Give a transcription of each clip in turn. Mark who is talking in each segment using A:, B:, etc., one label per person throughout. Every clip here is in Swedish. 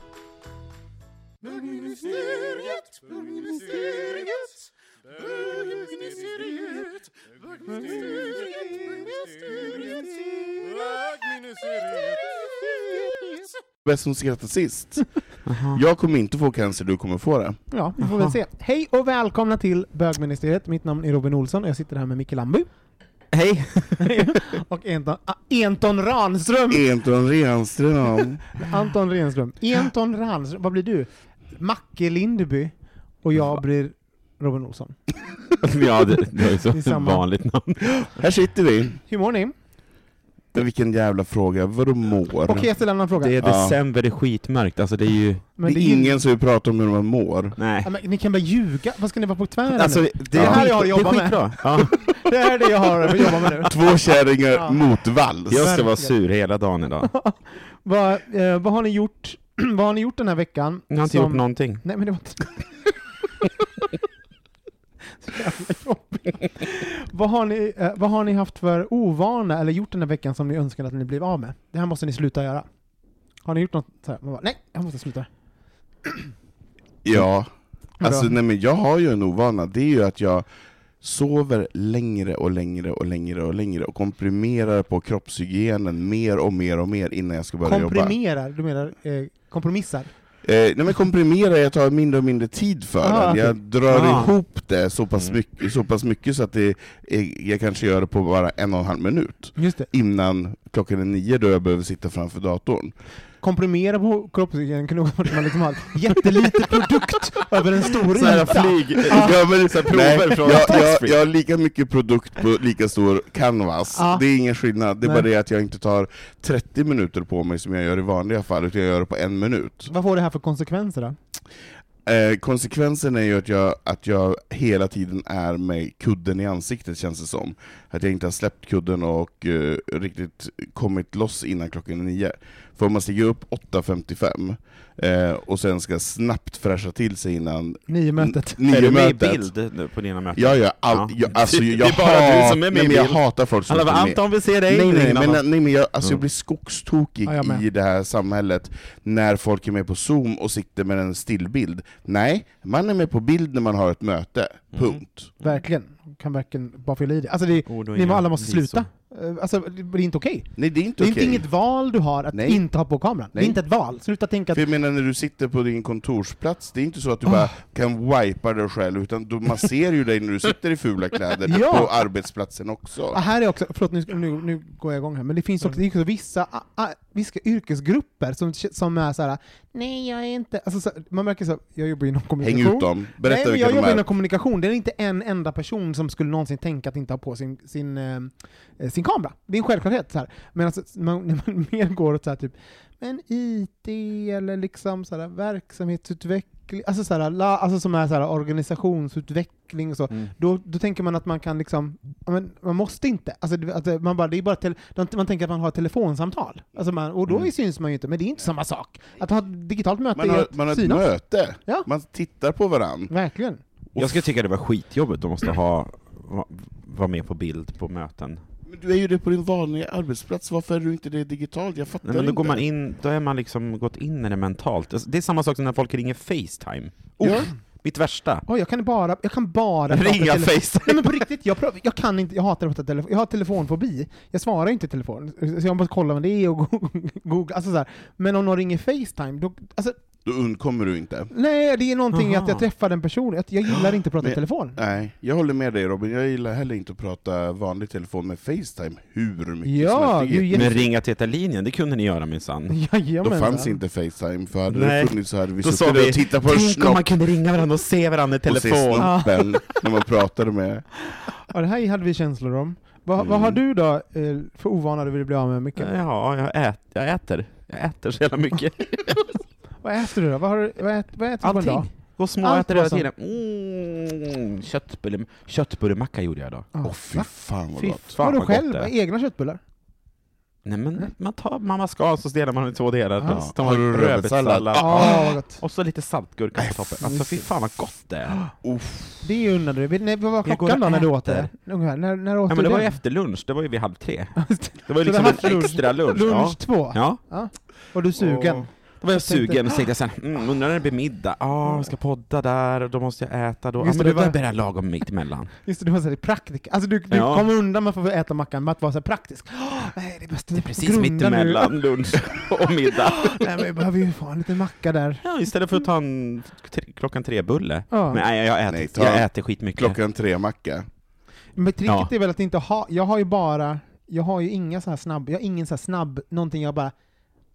A: Bögministeriet, bögministeriet, bögministeriet, bögministeriet,
B: Vem som skrattar sist? Jag kommer inte få cancer, du kommer få det.
C: Ja, vi får väl se. Hej och välkomna till bögministeriet. Mitt namn är Robin Olsson och jag sitter här med Micke Lambu
D: Hej!
C: och Anton, ah, Anton Ranström.
D: E-
B: Anton Renström.
C: Anton Renström. Anton Ranström. Vad blir du? Macke Lindeby. Och jag blir Robin Olsson.
D: ja, det, det är
C: Det är
D: ju så
C: samma.
D: vanligt namn.
B: Här sitter vi.
C: Hur mår ni?
B: Men Vilken jävla fråga, vadå mår?
C: Okej, jag ställer en annan fråga.
D: Det är
B: Ja.
D: december, det är skitmörkt. Alltså det är ju...
C: Men
B: det
C: det är
B: är
C: ju-
B: ingen som vill prata om hur man mår.
D: Nej.
C: Ja, men ni kan bara ljuga. Vad ska ni vara på tvären
D: Alltså,
C: nu?
D: det, är
C: här
D: skit-
C: jag jobbar
D: det
C: med.
D: är skitbra. Ja.
C: Det här är det jag har att jobba med nu.
B: Två kärringar
C: Ja.
B: mot vals.
D: Jag ska vara sur hela dagen idag.
C: Vad, eh, vad har ni gjort? vad har ni gjort den här veckan?
D: Jag har inte
C: som-
D: gjort någonting.
C: Nej men det var inte... Så jävla jobbigt. vad, har ni, eh, vad har ni haft för ovana eller gjort den här veckan som ni önskar att ni blev av med? Det här måste ni sluta göra. Har ni gjort något så här? Man bara, nej, jag måste sluta.
B: Ja.
C: Vadå?
B: Alltså nej men jag har ju en ovana, det är ju att jag sover längre och längre och längre och längre och komprimerar på kroppshygienen mer och mer och mer innan jag ska börja jobba.
C: Komprimerar, du menar eh, kompromissar?
B: Eh, nej men komprimera, jag tar mindre och mindre tid för
C: Ah.
B: den. Jag drar
D: Ah.
B: ihop det så pass, mycket, så pass mycket så att det är, jag kanske gör det på bara en och en halv minut.
C: Just det.
B: Innan klockan är nio då jag behöver sitta framför datorn.
C: Komprimera på kroppshygienen kan nog vara att man liksom har en jätteliten produkt över en stor
D: Så här
C: yta.
D: flyg...
B: Ja, men, nej,
D: prover från
B: jag, jag,
D: taxfree.
B: jag har lika mycket produkt på lika stor canvas,
C: Ah.
B: det är ingen skillnad. Det är
C: Nej.
B: bara det att jag inte tar 30 minuter på mig som jag gör i vanliga fall, utan jag gör det på en minut.
C: Vad får det här för konsekvenser då?
B: Eh, konsekvensen är ju att jag, att jag hela tiden är med kudden i ansiktet känns det som. Att jag inte har släppt kudden och eh, riktigt kommit loss innan klockan är nio. För om man stiger upp 8.55 eh, och sen ska snabbt fräscha till sig innan
C: Nio mötet.
B: n-
D: Är du med i
B: niomötet.
D: bild nu på dina möten?
B: Ja, ja, all,
D: Ja.
B: jag, alltså,
D: Det är
B: jag,
D: bara du som är
B: hat-
D: med
B: nej,
D: i
B: men jag
D: bild.
B: hatar folk som
D: Alla bara,
B: inte är med.
D: Anton vill se dig!
B: Nej, nej,
D: Ingen annan.
B: men, nej, men jag, alltså, jag
D: Mm.
B: blir skogstokig
C: Ja, jag med.
B: i det här samhället när folk är med på zoom och sitter med en stillbild. Nej, man är med på bild när man har ett möte.
D: Mm.
B: Punkt.
C: Verkligen. Kan verkligen bara fylla i det. Alltså det,
D: Ord och
C: ni
D: inga
C: alla måste
D: visor.
C: sluta. Eh, Alltså det det är inte okej.
B: Nej, det är inte
C: Det är
B: okej.
C: inte inget val du har att
B: Nej.
C: inte ha på kameran. Det
B: Nej.
C: är inte ett val. Sluta tänka att...
B: För jag menar, när du sitter på din kontorsplats, det är inte så att
C: Oh.
B: du bara kan wipa dig själv, utan du, man ser ju dig när du sitter i fula kläder
C: Ja.
B: på arbetsplatsen också.
C: Ah, här är också, förlåt nu, nu, nu går jag igång här, men det finns också,
B: Mm.
C: det är också vissa, ah, ah, vissa yrkesgrupper som, som är såhär nej jag är inte, alltså, så, man märker så här, jag jobbar inom
B: Häng
C: kommunikation.
B: ut dem, berätta
C: nej, men
B: vilka
C: jag
B: de
C: jobbar
B: är.
C: inom kommunikation, det är inte en enda person som skulle någonsin tänka att inte ha på sin, sin, eh, eh, sin kamera. Det är en självklarhet. Så här. Men alltså, man, när man mer går åt så här, typ, men IT eller liksom så här, verksamhetsutveckling, alltså, så här, la, alltså som är så här, organisationsutveckling och så,
B: Mm.
C: då, då tänker man att man kan liksom, ja, men man måste inte. Alltså, det, att det- man, bara, det är bara tele, de- man tänker att man har ett telefonsamtal, alltså man, och då syns man ju inte, men det är inte samma sak. Att ha ett digitalt möte
B: Mm. Man
C: är
B: har,
C: att
B: man har ett
C: synas.
B: möte,
C: Ja.
B: man tittar på varandra.
C: Verkligen.
D: Jag skulle tycka det var skitjobbigt att måste ha, va- vara med på bild på möten.
B: Men du är ju det på din vanliga arbetsplats, varför är du inte det digitalt? Jag fattar
D: Nej, men då
B: inte.
D: går man in, då är man liksom gått in i det mentalt. Alltså, Det är samma sak som när folk ringer Facetime. Oh,
B: Ja.
D: Mitt värsta!
C: Oj, jag kan bara, jag kan bara prata
D: Ringa
C: tele-
D: Facetime!
C: Nej men på riktigt, jag, pröv, jag kan inte, jag hatar att prata telefon, jag har telefonfobi. Jag svarar ju inte i telefon, så jag måste kolla vad det är och googla, alltså så här. Men om någon ringer Facetime, då, alltså,
B: Då undkommer du inte.
C: nej det är någonting
D: Aha.
C: att jag träffar den personen, att jag gillar inte att prata i
B: Men-
C: telefon.
B: Nej, jag håller med dig Robin, jag gillar heller inte att prata vanlig telefon med Facetime hur mycket
C: Ja,
B: som helst.
C: du är
D: Men
C: jätte- Mm.
D: ringa Teta linjen, det kunde ni göra minsann.
B: Då
C: Jajamensan.
B: fanns inte Facetime, för hade
D: Nej.
B: det funnits så hade vi
D: Då
B: suttit
D: sa
B: där
D: vi,
B: och tittat på en
D: tänk om man
B: snopp
D: kunde ringa varandra och se varandra i
B: och se
D: telefon!
B: snoppen när man pratade med...
C: Ja, det här hade vi känslor om. Vad, vad
D: Mm.
C: har du då eh, för ovana du vill bli av med Micke?
D: Ja, jag, ät, jag äter. Jag äter så jävla mycket.
C: Vad äter du då? Vad, har, du- vad, ät, vad äter du på en dag?
D: Allting. Gå små
C: Allt
D: äter hela
C: var
D: tiden. Mm, köttbulle, köttbullemacka gjorde jag idag.
B: Åh
C: Ah,
B: fy
C: va?
B: fan vad
D: Fy
B: gott.
D: fan
C: Vadå
D: vad gott
C: själv?
D: det är.
C: Egna köttbullar?
D: Nej men man tar mamma skans och så delar man den i två delar.
B: Ja.
D: Ja.
B: Har du rödbetssallad?
D: rödbetssallad.
C: Ja, vad gott.
D: Och så lite saltgurka på toppen. Alltså fy fan vad gott det är.
C: Det unnar du dig. Vet ni- Vad var
D: Jag går
C: klockan då
D: och
C: när du åt
D: äter.
C: det? Ungefär. När, när åt du
D: Ja, men det var ju
C: den?
D: efter lunch, det var ju vid halv tre. Det var ju
C: Så
D: liksom
C: det här
D: en
C: lunch-
D: extra lunch.
C: Lunch
D: Ja.
C: två?
D: ja.
C: Var du sugen?
D: Då var jag
C: tänkte- "Ah."
D: sugen och så tänkte jag såhär, mm, undrar när det blir middag? Ja, jag ska podda där och då måste jag äta då. Ja,
C: Visst,
D: men
C: det
D: det
C: var-
D: var bara lagom mitt emellan.
C: Just det, du var såhär praktisk. Alltså du, du
D: Ja.
C: kommer undan med att få äta mackan med att vara såhär praktisk. Åh, nej, det är bäst att vi
D: Precis mitt emellan lunch och middag.
C: Nej, men jag behöver ju få en liten macka där.
D: Ja, istället för att ta en tre, klockan tre-bulle.
C: Ja.
D: Men nej, jag äter,
B: Nej, ta-
D: jag äter skitmycket.
B: Klockan tre macka.
C: Men tricket
D: Ja.
C: är väl att inte ha, jag har ju bara, jag har ju inga så här snabb, jag har ingen så här snabb, någonting jag bara,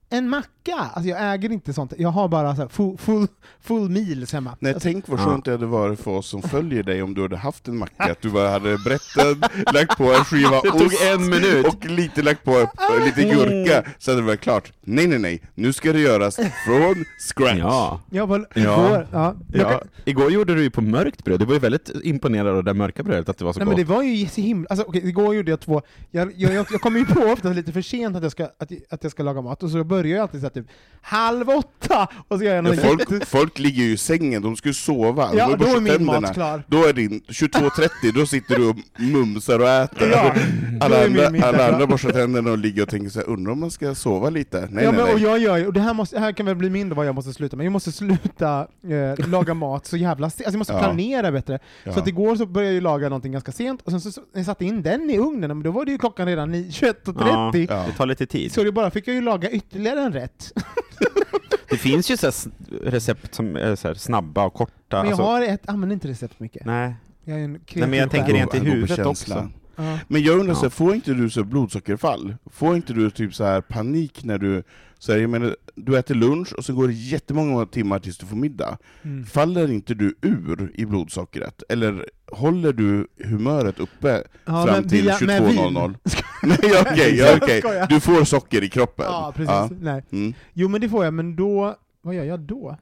C: en macka! Alltså jag äger inte sånt, jag har bara så här full, full, full meals hemma.
B: Nej,
C: alltså,
B: tänk vad
D: Ja.
B: skönt det hade varit för oss som följer dig om du hade haft en macka, att du bara hade brett den, lagt på en skiva
D: Det tog en minut.
B: och lite lagt på äh, lite gurka, så hade det varit klart. Nej, nej, nej, nu ska det göras från scratch.
D: Ja.
C: jag bara,
D: Ja.
C: igår, ja. Jag
D: Ja,
C: kan-
D: igår gjorde du ju på mörkt bröd, du var ju väldigt imponerad av det mörka brödet, att det var så
C: Nej men
D: gott.
C: det var ju så himla, alltså okej, igår gjorde jag två, jag, jag, jag, jag kommer ju på ofta lite för sent att jag, ska, att, att jag ska laga mat, och så börjar jag alltid så här typ halv åtta, och så gör jag
B: Men
C: något
B: folk, folk ligger ju i sängen, de ska ju sova. De
C: Ja,
B: har ju
C: då är
B: borstat
C: min mat
B: tänderna.
C: klar.
B: Då är din 22.30, då sitter du och mumsar och äter.
C: Ja, då
B: alla,
C: är min middag
B: andra, alla
C: klar.
B: andra borstar tänderna och ligger och tänker så här, undrar om man ska sova lite? Nej,
C: ja,
B: nej,
C: men,
B: nej.
C: och jag gör ju, och det här, måste, det här kan väl bli mindre vad jag måste sluta med. Jag måste sluta eh, laga mat så jävla sent. Alltså jag måste
B: Ja.
C: planera bättre. Så
B: Ja.
C: att igår så började jag ju laga någonting ganska sent, och sen så, så när jag satte in den i ugnen, men då var det ju klockan redan ni- 21.30.
B: Ja.
D: Det tar lite tid.
C: Så det bara fick jag ju laga ytterligare en rätt.
D: Det finns ju så här s- recept som är så här snabba och korta.
C: Men jag
D: alltså-
C: har ett, använder inte recept mycket.
D: Nej.
C: Jag är en
D: Nej, men jag tänker
B: Gå-
D: rent i
B: gå på
D: huvudet
B: känsla.
D: också.
C: Ja.
B: Men jag undrar,
D: Ja.
B: så här, får inte du så här blodsockerfall? Får inte du typ så här panik när du... Så här, jag menar, du äter lunch och så går det jättemånga timmar tills du får middag.
C: Mm.
B: Faller inte du ur i blodsockret? Eller håller du humöret uppe
C: Ja,
B: fram
C: men
B: till
C: via- med vin.
B: 22.00? Nej okej, ja, okej.
C: skojar.
B: du får socker i kroppen.
C: Ja, precis. Nej.
B: Mm.
C: Jo men det får jag, men då, vad gör jag då?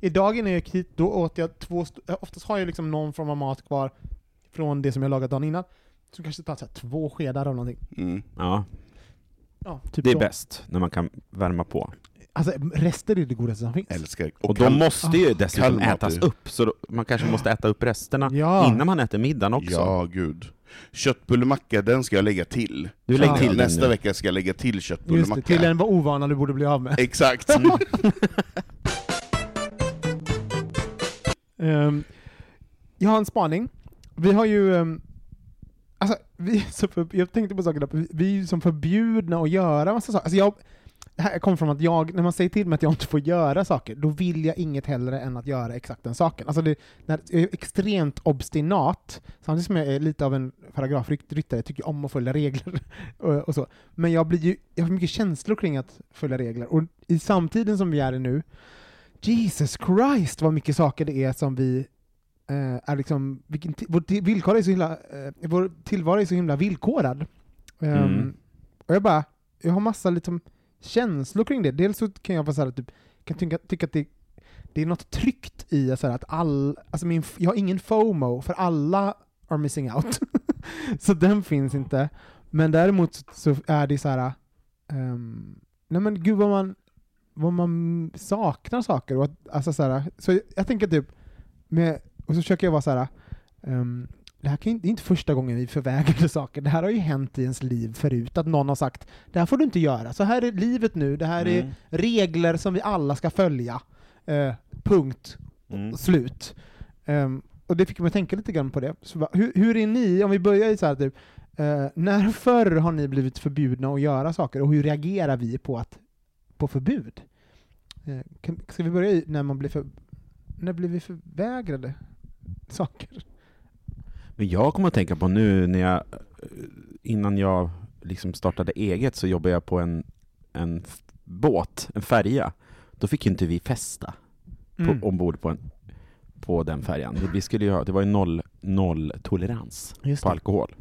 C: Idag innan jag gick hit, då åt jag två, st- oftast har jag liksom någon form av mat kvar från det som jag lagat dagen innan. Så kanske tar så här två skedar av någonting.
B: Mm.
D: Ja,
C: Ja, typ
D: det är
C: så.
D: bäst när man kan värma på.
C: Alltså rester är det godaste som finns.
B: Älskar.
D: Och,
B: kall-
D: de måste
C: Ah.
D: ju
B: kall
D: dessutom
B: mat
D: ätas
B: är-
D: upp, så då, man kanske måste äta upp resterna
C: Ja.
D: innan man äter middagen också.
B: Ja, gud. Köttbullemacka, den ska jag lägga till.
D: Du lägger
C: Ja.
D: till den
B: Nästa
D: nu.
B: vecka ska jag lägga till
C: Just det,
B: köttbullemacka.
C: till en var ovana du borde bli av med.
B: Exakt. Mm.
C: Ehm, jag har en spaning. Vi har ju... ehm, alltså, vi är så för, jag tänkte på saker där. Vi- Vi är ju som förbjudna att göra massa saker. Alltså jag, det här kommer från att jag, när man säger till mig att jag inte får göra saker, då vill jag inget hellre än att göra exakt den saken. Alltså det, när, jag är extremt obstinat, samtidigt som jag är lite av en paragrafryttare, jag tycker om att följa regler och, och så. Men jag, blir ju, jag har mycket känslor kring att följa regler, och i samtiden som vi är i nu, Jesus Christ vad mycket saker det är som vi eh, är liksom, vilken, ti- vår, ti- villkor är så himla, eh, vår tillvaro är så himla villkorad. Ehm,
D: Mm.
C: Och jag bara, jag har massa liksom känslor kring det. Dels så kan jag vara så här, typ, kan tycka, tycka att det, det är något tryggt i så här, att all, alltså min, f- jag har ingen FOMO, för alla are missing out. så den finns inte. Men däremot så, så är det så här, ehm, nej men gud vad man, vad man saknar saker. Och att, alltså så här, så jag, jag tänker typ, med Och så försöker jag vara så här. ehm, det här kan ju, det är inte första gången vi förvägrade saker. Det här har ju hänt i ens liv förut, att någon har sagt det här får du inte göra, så här är livet nu, det här är
D: Mm.
C: regler som vi alla ska följa. Eh, punkt
D: Mm.
C: slut. Ehm, och det fick mig att tänka lite grann på det. Så, va, hur, hur är ni, om vi börjar i så här typ, eh, när förr har ni blivit förbjudna att göra saker och hur reagerar vi på, att, på förbud? Eh, kan, ska vi börja i när man blir för, när blir vi förvägrade saker?
D: Men jag kommer att tänka på nu när jag, eh, innan jag liksom startade eget så jobbade jag på en, en f- båt, en färja. Då fick ju inte vi festa på,
C: Mm.
D: ombord på, en, på den färjan. Vi skulle ju ha, det var ju noll, noll tolerans
C: Just
D: på
C: det.
D: alkohol.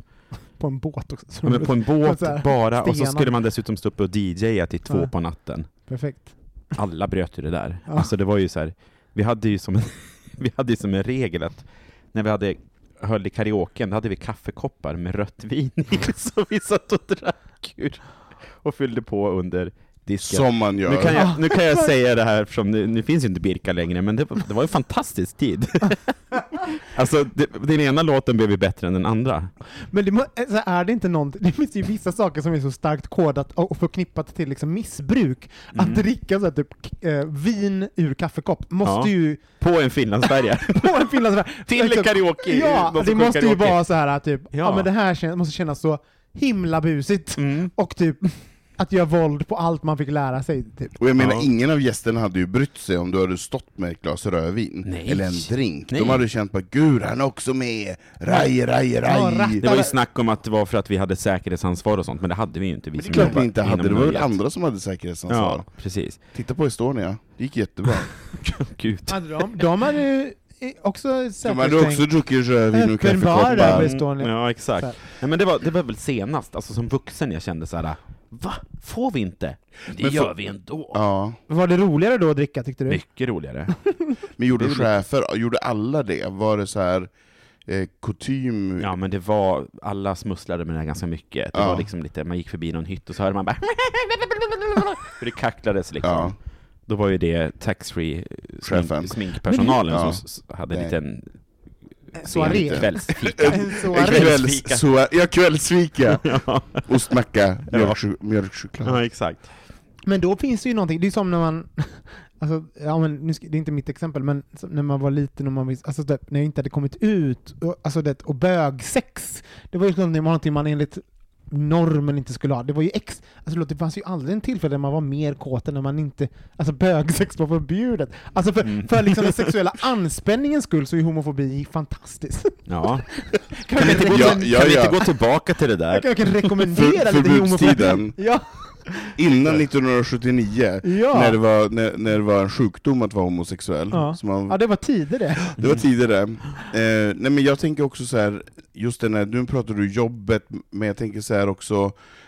C: På en båt också.
D: Ja, men på en båt
C: Så här,
D: bara, och så
C: stenar.
D: skulle man dessutom stå uppe och DJa till två
C: Ja.
D: på natten.
C: Perfekt.
D: Alla bröt ju det där.
C: Ja.
D: Alltså det var ju så här, vi hade ju som en, vi hade ju som en regel att när vi hade höll i karaoken, då hade vi kaffekoppar med rött vin
B: Mm.
D: i, som vi satt och drack ur och fyllde på under disken.
B: Som man
D: Nu
B: gör.
D: kan, jag, nu kan jag säga det här eftersom nu, nu finns ju inte Birka längre, men det, var- det var en fantastisk tid. alltså, det, den ena låten blev ju bättre än den andra.
C: Men det, må- eh, så är det inte någonting, det finns ju vissa saker som är så starkt kodat och förknippat till liksom missbruk.
D: Mm.
C: Att dricka så här, typ, k- eh, vin ur kaffekopp måste
D: Ja.
C: ju
D: På en finlandsfärja.
C: på en finlandsfärja.
D: Till en
C: Liksom,
D: karaoke.
C: Ja,
D: Någon
C: det
D: som sjöng
C: måste ju
D: karaoke.
C: vara så här typ, ja.
D: Ja.
C: men det här kän- måste kännas så himla busigt.
D: Mm.
C: Och typ att göra våld på allt man fick lära sig. Typ.
B: Och jag menar,
D: Ja.
B: ingen av gästerna hade ju brytt sig om du hade stått med ett glas rödvin,
D: Nej.
B: eller en drink.
D: Nej.
B: De hade känt bara 'Gud, han är också med! Raj, raj,
C: Ja,
B: raj!'
C: rattare.
D: Det var ju snack om att det var för att vi hade säkerhetsansvar och sånt, men det hade vi ju inte. Vi
B: Men det är
D: som
B: klart
D: jobbar
B: ni inte hade,
D: inom
B: det var väl
D: nöjet.
B: andra som hade säkerhetsansvar.
D: Ja, precis.
B: Titta på Estonia, det gick jättebra.
D: Gud.
C: De, de hade ju eh, också
B: De hade också druckit rödvin och
C: Öppen bar
B: kaffekoppar.
C: över Estonia.
D: Ja, exakt.
C: Så här.
D: Nej, men det, var, det var väl senast, alltså som vuxen, jag kände så här. Va? Får vi inte? Det
B: Men
D: gör
B: får-
D: vi ändå.
B: Ja.
C: Var det roligare då att dricka tyckte du?
D: Mycket roligare.
B: Men gjorde
D: Det är väl-
B: chefer, gjorde alla det? Var det så här eh, kutym?
D: Ja men det var, alla smusslade med det här ganska mycket. Det
B: Ja.
D: var liksom lite, man gick förbi någon hytt och så hörde man bara För det kacklades liksom.
B: Ja.
D: Då var ju det taxfree eh, smink,
B: Chefen.
D: sminkpersonalen
B: Men-
D: som
B: Ja.
D: s- s- hade en
B: Nej.
D: liten
C: soaré.
D: sen kvällsfika.
C: En
B: En
C: soaré.
B: kvälls, så, Eh, ja, kvällsfika!
D: ja.
B: Ostmacka,
D: Ja.
B: mjölkcho- mjölkchoklad.
D: ja, exakt.
C: Men då finns det ju någonting, det är som när man, alltså, ja, men nu ska, det är inte mitt exempel, men som när man var liten och man visste, alltså, typ, när jag inte hade kommit ut, och, alltså, det, och bögsex, det var ju någonting, någonting man enligt normen inte skulle ha. Det var ju ex, alltså det fanns ju aldrig en tillfälle där man var mer kåt än när man inte, alltså bögsex var förbjudet. Alltså för,
B: Mm.
C: för liksom den sexuella anspänningens skull så är homofobi fantastiskt.
D: Ja.
C: Kan
D: Kan vi inte gå,
B: Ja,
D: kan
B: ja,
D: vi
B: ja.
D: inte gå tillbaka till det
C: jag
D: där?
C: kan verkligen rekommendera
B: För-
C: lite homofobi.
B: förbudstiden.
C: Ja,
B: Innan 1979,
C: Ja.
B: när, det var, när, när det var en sjukdom att vara homosexuell.
C: Ja.
B: Så man,
C: ja, det var tider det.
B: Det var tidigare. Eh, nej men jag tänker också så här, just den här, nu pratar du jobbet, men jag tänker så här också,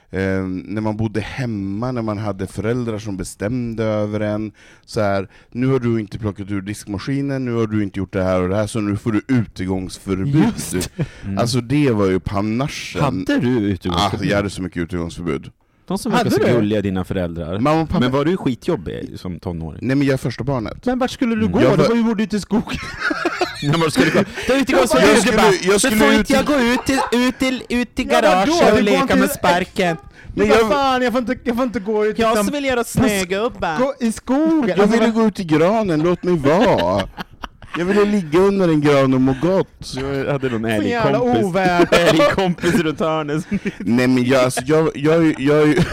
B: eh, när man bodde hemma, när man hade föräldrar som bestämde över en. Så här, nu har du inte plockat ur diskmaskinen, nu har du inte gjort det här och det här, så nu får du utegångsförbud.
C: Just
B: Alltså det var ju panaschen.
D: Hade du
B: Ah,
D: utegångsförbud?
B: Ehm, jag hade så mycket utegångsförbud.
D: De som
C: Hade
D: verkar så
C: du?
D: gulliga, dina föräldrar.
B: Mamma och pappa,
D: Men var du skitjobbig som tonåring?
B: nej men jag är första barnet.
C: Men vart skulle du gå?
B: Mm. Jag
C: Du
B: var-
C: var ju borde ut i skogen.
D: Nej, men skulle gå. Du är ute och
B: Jag skulle- jag skulle ut till-
D: gå ut till, ut till, ut till
C: Ja, vadå? Du går inte-
D: sparken?
C: Men
B: jag-
C: jag... fan, jag får inte, jag får inte gå ut liksom." utan-
D: vill göra snögubbar.
C: Gå i skogen!
B: Jag
C: Alltså,
B: ville
C: vad-
B: gå ut i granen, låt mig vara. Jag ville ligga under en gran och må gott.
D: Jag hade någon
C: Så jävla
D: älgkompis.
C: ovärd.
D: Älgkompis runt hörnet.
B: Nej men jag, alltså, jag, jag, jag, jag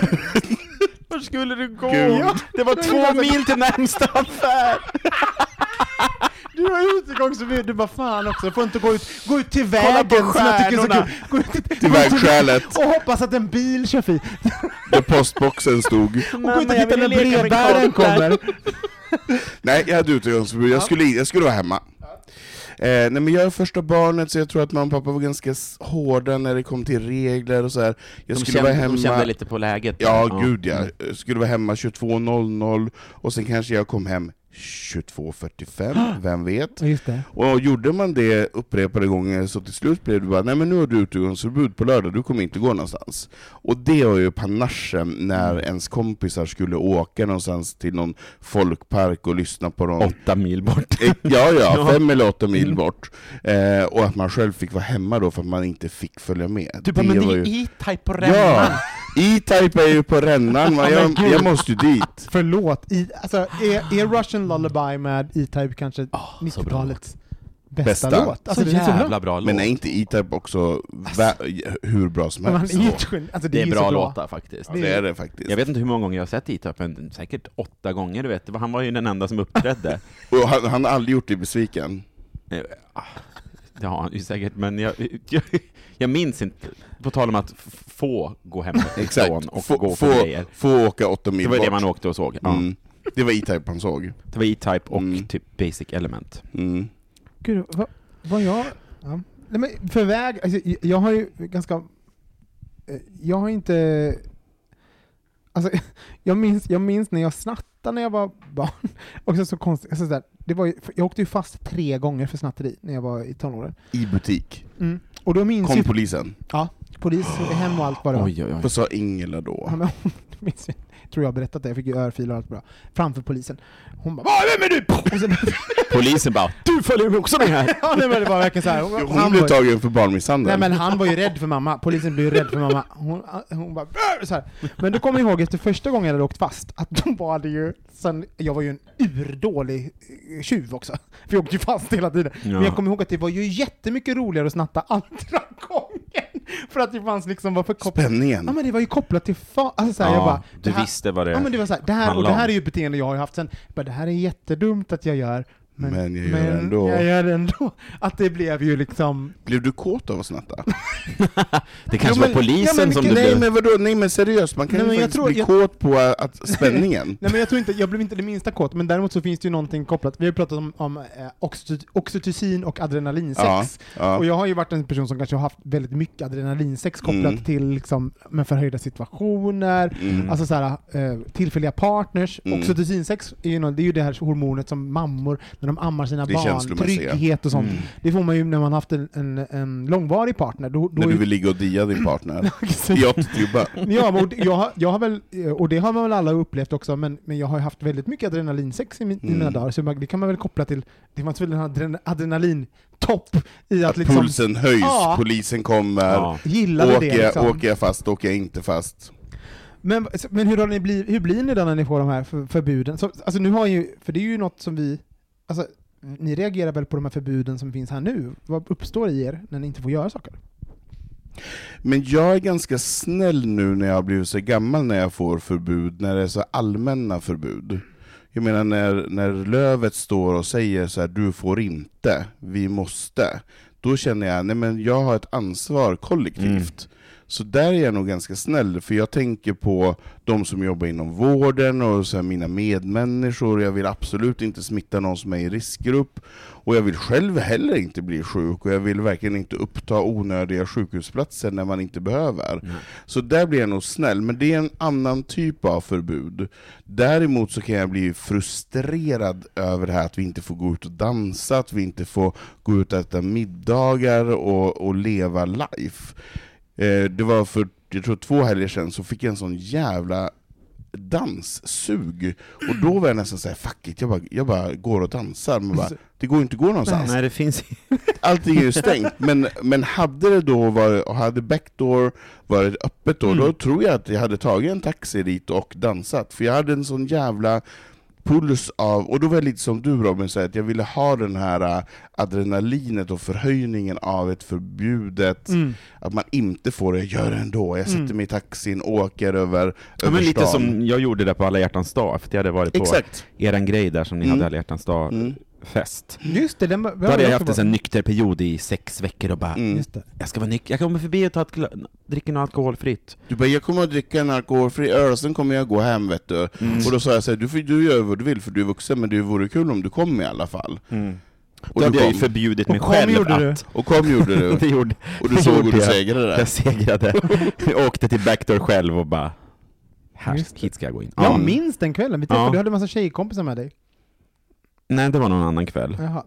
D: Var skulle du gå?
B: Gud.
D: Det var två mil till närmsta affär.
C: Du har utegångsförbud, du bara fan också, jag får inte gå ut, gå ut till
D: Kolla
C: vägen
D: på
C: som jag tycker är så
D: stjärnorna.
C: kul. Gå ut till,
B: till vägskälet
C: och hoppas att en bil kör förbi.
B: där postboxen stod.
C: Och gå ut och
D: jag
C: titta när
D: vill leka med
C: brevbäraren
D: kompisar.
C: kommer.
B: Nej jag hade utegångsförbud, jag skulle, jag skulle vara hemma. Eh, nej men jag är första barnet så jag tror att mamma och pappa var ganska s- hårda när det kom till regler och så här. Jag skulle vara hemma...
D: lite på läget.
B: Ja, gud ja. Jag skulle vara hemma 22.00 och sen kanske jag kom hem 22.45, vem vet?
C: Ja, just det.
B: Och gjorde man det upprepade gånger så till slut blev det bara Nej men nu har du utegångsförbud på lördag, du kommer inte gå någonstans. Och det var ju panaschen när
D: Mm.
B: ens kompisar skulle åka någonstans till någon folkpark och lyssna på någon
D: Åtta mil bort.
B: Eh, Ja, ja,
D: Ja. Mm.
B: fem eller åtta mil bort. Eh, och att man själv fick vara hemma då för att man inte fick följa med.
D: Du bara, Typ, men det
B: var
D: är ju E-Type på
B: Ja!
D: rännan!
B: E-Type är ju på rännan, va? jag, jag måste ju dit.
C: Förlåt, I, alltså, är, är Russian Lullaby med E-Type kanske
D: Ah, så bra.
C: 90-talets bästa,
B: Bästa.
C: låt?
D: Alltså,
C: Alltså,
D: så
C: den är så bra.
D: jävla bra låt.
B: Men är inte E-Type också vä- hur bra som
C: Men han
B: helst?
C: är ju ett geni. alltså,
D: det är
C: ju
D: bra
C: så
D: låtar faktiskt.
B: Ja, det är det faktiskt.
D: Jag vet inte hur många gånger jag har sett E-Type, men säkert åtta gånger. Du vet. Det var- Han var ju den enda som uppträdde.
B: Och han, han har aldrig gjort dig besviken.
D: Eh, ah, Det har han ju säkert, men jag, jag, jag minns inte. På tal om att f- få gå
B: Exakt.
D: hemifrån och
B: få,
D: gå
B: få,
D: på grejer.
B: få åka åtta mil
D: Det var
B: bort.
D: det man åkte och såg. Ja.
B: mm. Det var E-Type han såg.
D: Det var E-Type och
B: Mm.
D: typ Basic Element.
B: Mm.
C: Gud, vad, vad jag... Ja. Nej, men för väg, alltså, jag- jag har ju ganska... eh, Jag har inte... Alltså, jag, minns, jag minns när jag snattade när jag var barn. Och så, så konstigt, alltså, så där, det var ju, jag åkte ju fast tre gånger för snatteri när jag var i tonåren.
B: I butik.
C: Mm. Och då minns
B: Kom
C: ju
B: polisen.
C: ja, polis, hem och allt vad det var.
D: Oj, oj, oj.
B: Vad sa Ingela
C: Ja,
B: då?
C: men hon, det minns jag, tror jag har berättat det, jag fick ju örfilar och allt bra. Framför polisen. Hon bara "Vad, Vem är du?” och sen,
D: Polisen bara Du följer mig också med här!
C: ja, nej, men Det var verkligen så här.
B: Jo,
C: han
B: Hon blev
C: var ju-
B: tagen för
C: Nej
B: barnmisshandel.
C: men han var ju rädd för mamma, polisen blev ju rädd för mamma. Hon, hon bara "Brr!" så här. Men då kommer jag ihåg efter första gången jag hade åkt fast, att de var det ju, sen, jag var ju en urdålig eh, tjuv också. För jag åkte ju fast hela tiden.
D: Ja.
C: Men jag kommer ihåg att det var ju jättemycket roligare att snatta andra gången. För att det fanns liksom, var för kopplat. Ja
B: Spänningen.
C: men det var ju kopplat till fa- alltså, så här, jag bara,
D: du
C: det här-
D: visste vad det
C: Ja men det var så här, det här, och
D: handlar
C: det här
D: om.
C: är ju ett beteende jag har haft sen, jag bara, det här är jättedumt att jag gör, men,
B: Men jag gör det ändå.
C: jag gör det ändå. Att det blev ju liksom,
B: Blev du kåt av att snatta?
D: Det kanske
C: Alltså,
B: Jo, men-
D: var polisen
B: ja, men,
D: som
B: nej,
D: du blev...
B: men vadå, nej men seriöst, man kan
C: Nej,
B: ju
C: men jag
B: faktiskt
C: tror-
B: bli
C: jag-
B: kåt på äh, att spänningen.
C: Nej men jag tror inte, jag blev inte det minsta kåt, men däremot så finns det ju någonting kopplat, vi har ju pratat om, om eh, oxyt- oxytocin och adrenalinsex.
B: ja.
C: Och jag har ju varit en person som kanske har haft väldigt mycket adrenalinsex kopplat
B: Mm.
C: till liksom, med förhöjda situationer,
B: Mm.
C: alltså såhär, eh, tillfälliga partners.
B: Mm.
C: Oxytocinsex är ju, nå- det är ju det här hormonet som mammor, när de ammar sina
B: Det
C: barn,
B: känslomässiga.
C: trygghet och sånt.
B: Mm.
C: Det får man ju när man haft en, en, en långvarig partner. Då, då
B: När
C: är
B: du
C: ju-
B: vill ligga och dia din partner.
C: Exakt.
B: I åttklubbar.
C: Ja, men och det- jag, har- jag har väl, eh, och det har man väl alla upplevt också, men, men jag har ju haft väldigt mycket adrenalinsex i, min, i mina
B: Mm.
C: dagar, så man- det kan man väl koppla till, det fanns väl en adren, adrenalintopp i att,
B: Att
C: liksom
B: pulsen höjs,
C: Ja.
B: polisen kommer,
D: Ja.
C: gilla det.
B: åker, jag-
C: Liksom.
B: åker jag fast, åker jag inte fast.
C: Men, men hur, har ni bliv, hur blir ni då när ni får de här för, förbuden? Så, alltså nu har ju, för det är ju något som vi, alltså ni reagerar väl på de här förbuden som finns här nu? Vad uppstår i er när ni inte får göra saker?
B: Men jag är ganska snäll nu när jag har blivit så gammal när jag får förbud, när det är så allmänna förbud. Jag menar när, när Lövet står och säger så här: du får inte, vi måste. Då känner jag, nej men jag har ett ansvar kollektivt.
C: Mm.
B: Så där är jag nog ganska snäll, för jag tänker på de som jobbar inom vården och så här mina medmänniskor, jag vill absolut inte smitta någon som är i riskgrupp, och jag vill själv heller inte bli sjuk, och jag vill verkligen inte uppta onödiga sjukhusplatser när man inte behöver. Så där blir jag nog snäll, men det är en annan typ av förbud. Däremot så kan jag bli frustrerad över det här att vi inte får gå ut och dansa, att vi inte får gå ut och äta middagar och, och leva life. Eh, det var för jag tror två helger sedan så fick jag en sån jävla danssug. Och då var jag nästan såhär, fuck it, jag bara, jag bara går och dansar. Men bara, det går ju inte att gå någonstans.
D: Nej, det finns
B: Allting är ju stängt. Men, men hade det då varit, och hade backdoor varit öppet
D: Mm.
B: då, då tror jag att jag hade tagit en taxi dit och dansat. För jag hade en sån jävla puls av, och då var jag lite som du Robin, så här, att jag ville ha den här äh, adrenalinet och förhöjningen av ett förbjudet,
D: Mm.
B: att man inte får det, jag gör det ändå, jag sätter mig i taxin, åker över,
D: ja,
B: över
D: men lite
B: stan.
D: som jag gjorde där på alla hjärtans dag, för det hade varit på
B: Exakt.
D: eran grej där som ni
B: Mm.
D: hade alla hjärtans
B: Mm.
D: dag-fest.
C: Just det, den
D: Då hade jag haft en sån nykter period i sex veckor och bara
B: Mm.
C: Just det.
D: Jag ska vara nykter, jag kommer förbi och ta ett gla- dricker något alkoholfritt.
B: Du bara, jag kommer att dricka en alkoholfri öl, sen kommer jag gå hem vet du.
D: Mm.
B: Och då sa jag så här, du, får, du gör vad du vill för du är vuxen, men det vore kul om du kom i alla fall.
D: Och då
B: Mm. du
D: hade jag ju
B: kom.
D: förbjudit mig
C: kom
D: själv
C: gjorde du.
D: att...
B: Och kom gjorde du.
D: Det gjorde,
B: Och du
D: det
B: såg
D: gjorde
B: hur du
D: jag.
B: segrade där.
D: Jag segrade. jag åkte till backdoor själv och bara... Här,
C: Just det.
D: hit ska jag gå in.
C: Jag minns den kvällen, vi träffade,
D: Ja.
C: du hade en massa tjejkompisar med dig.
D: Nej, det var någon annan kväll.
C: Jaha.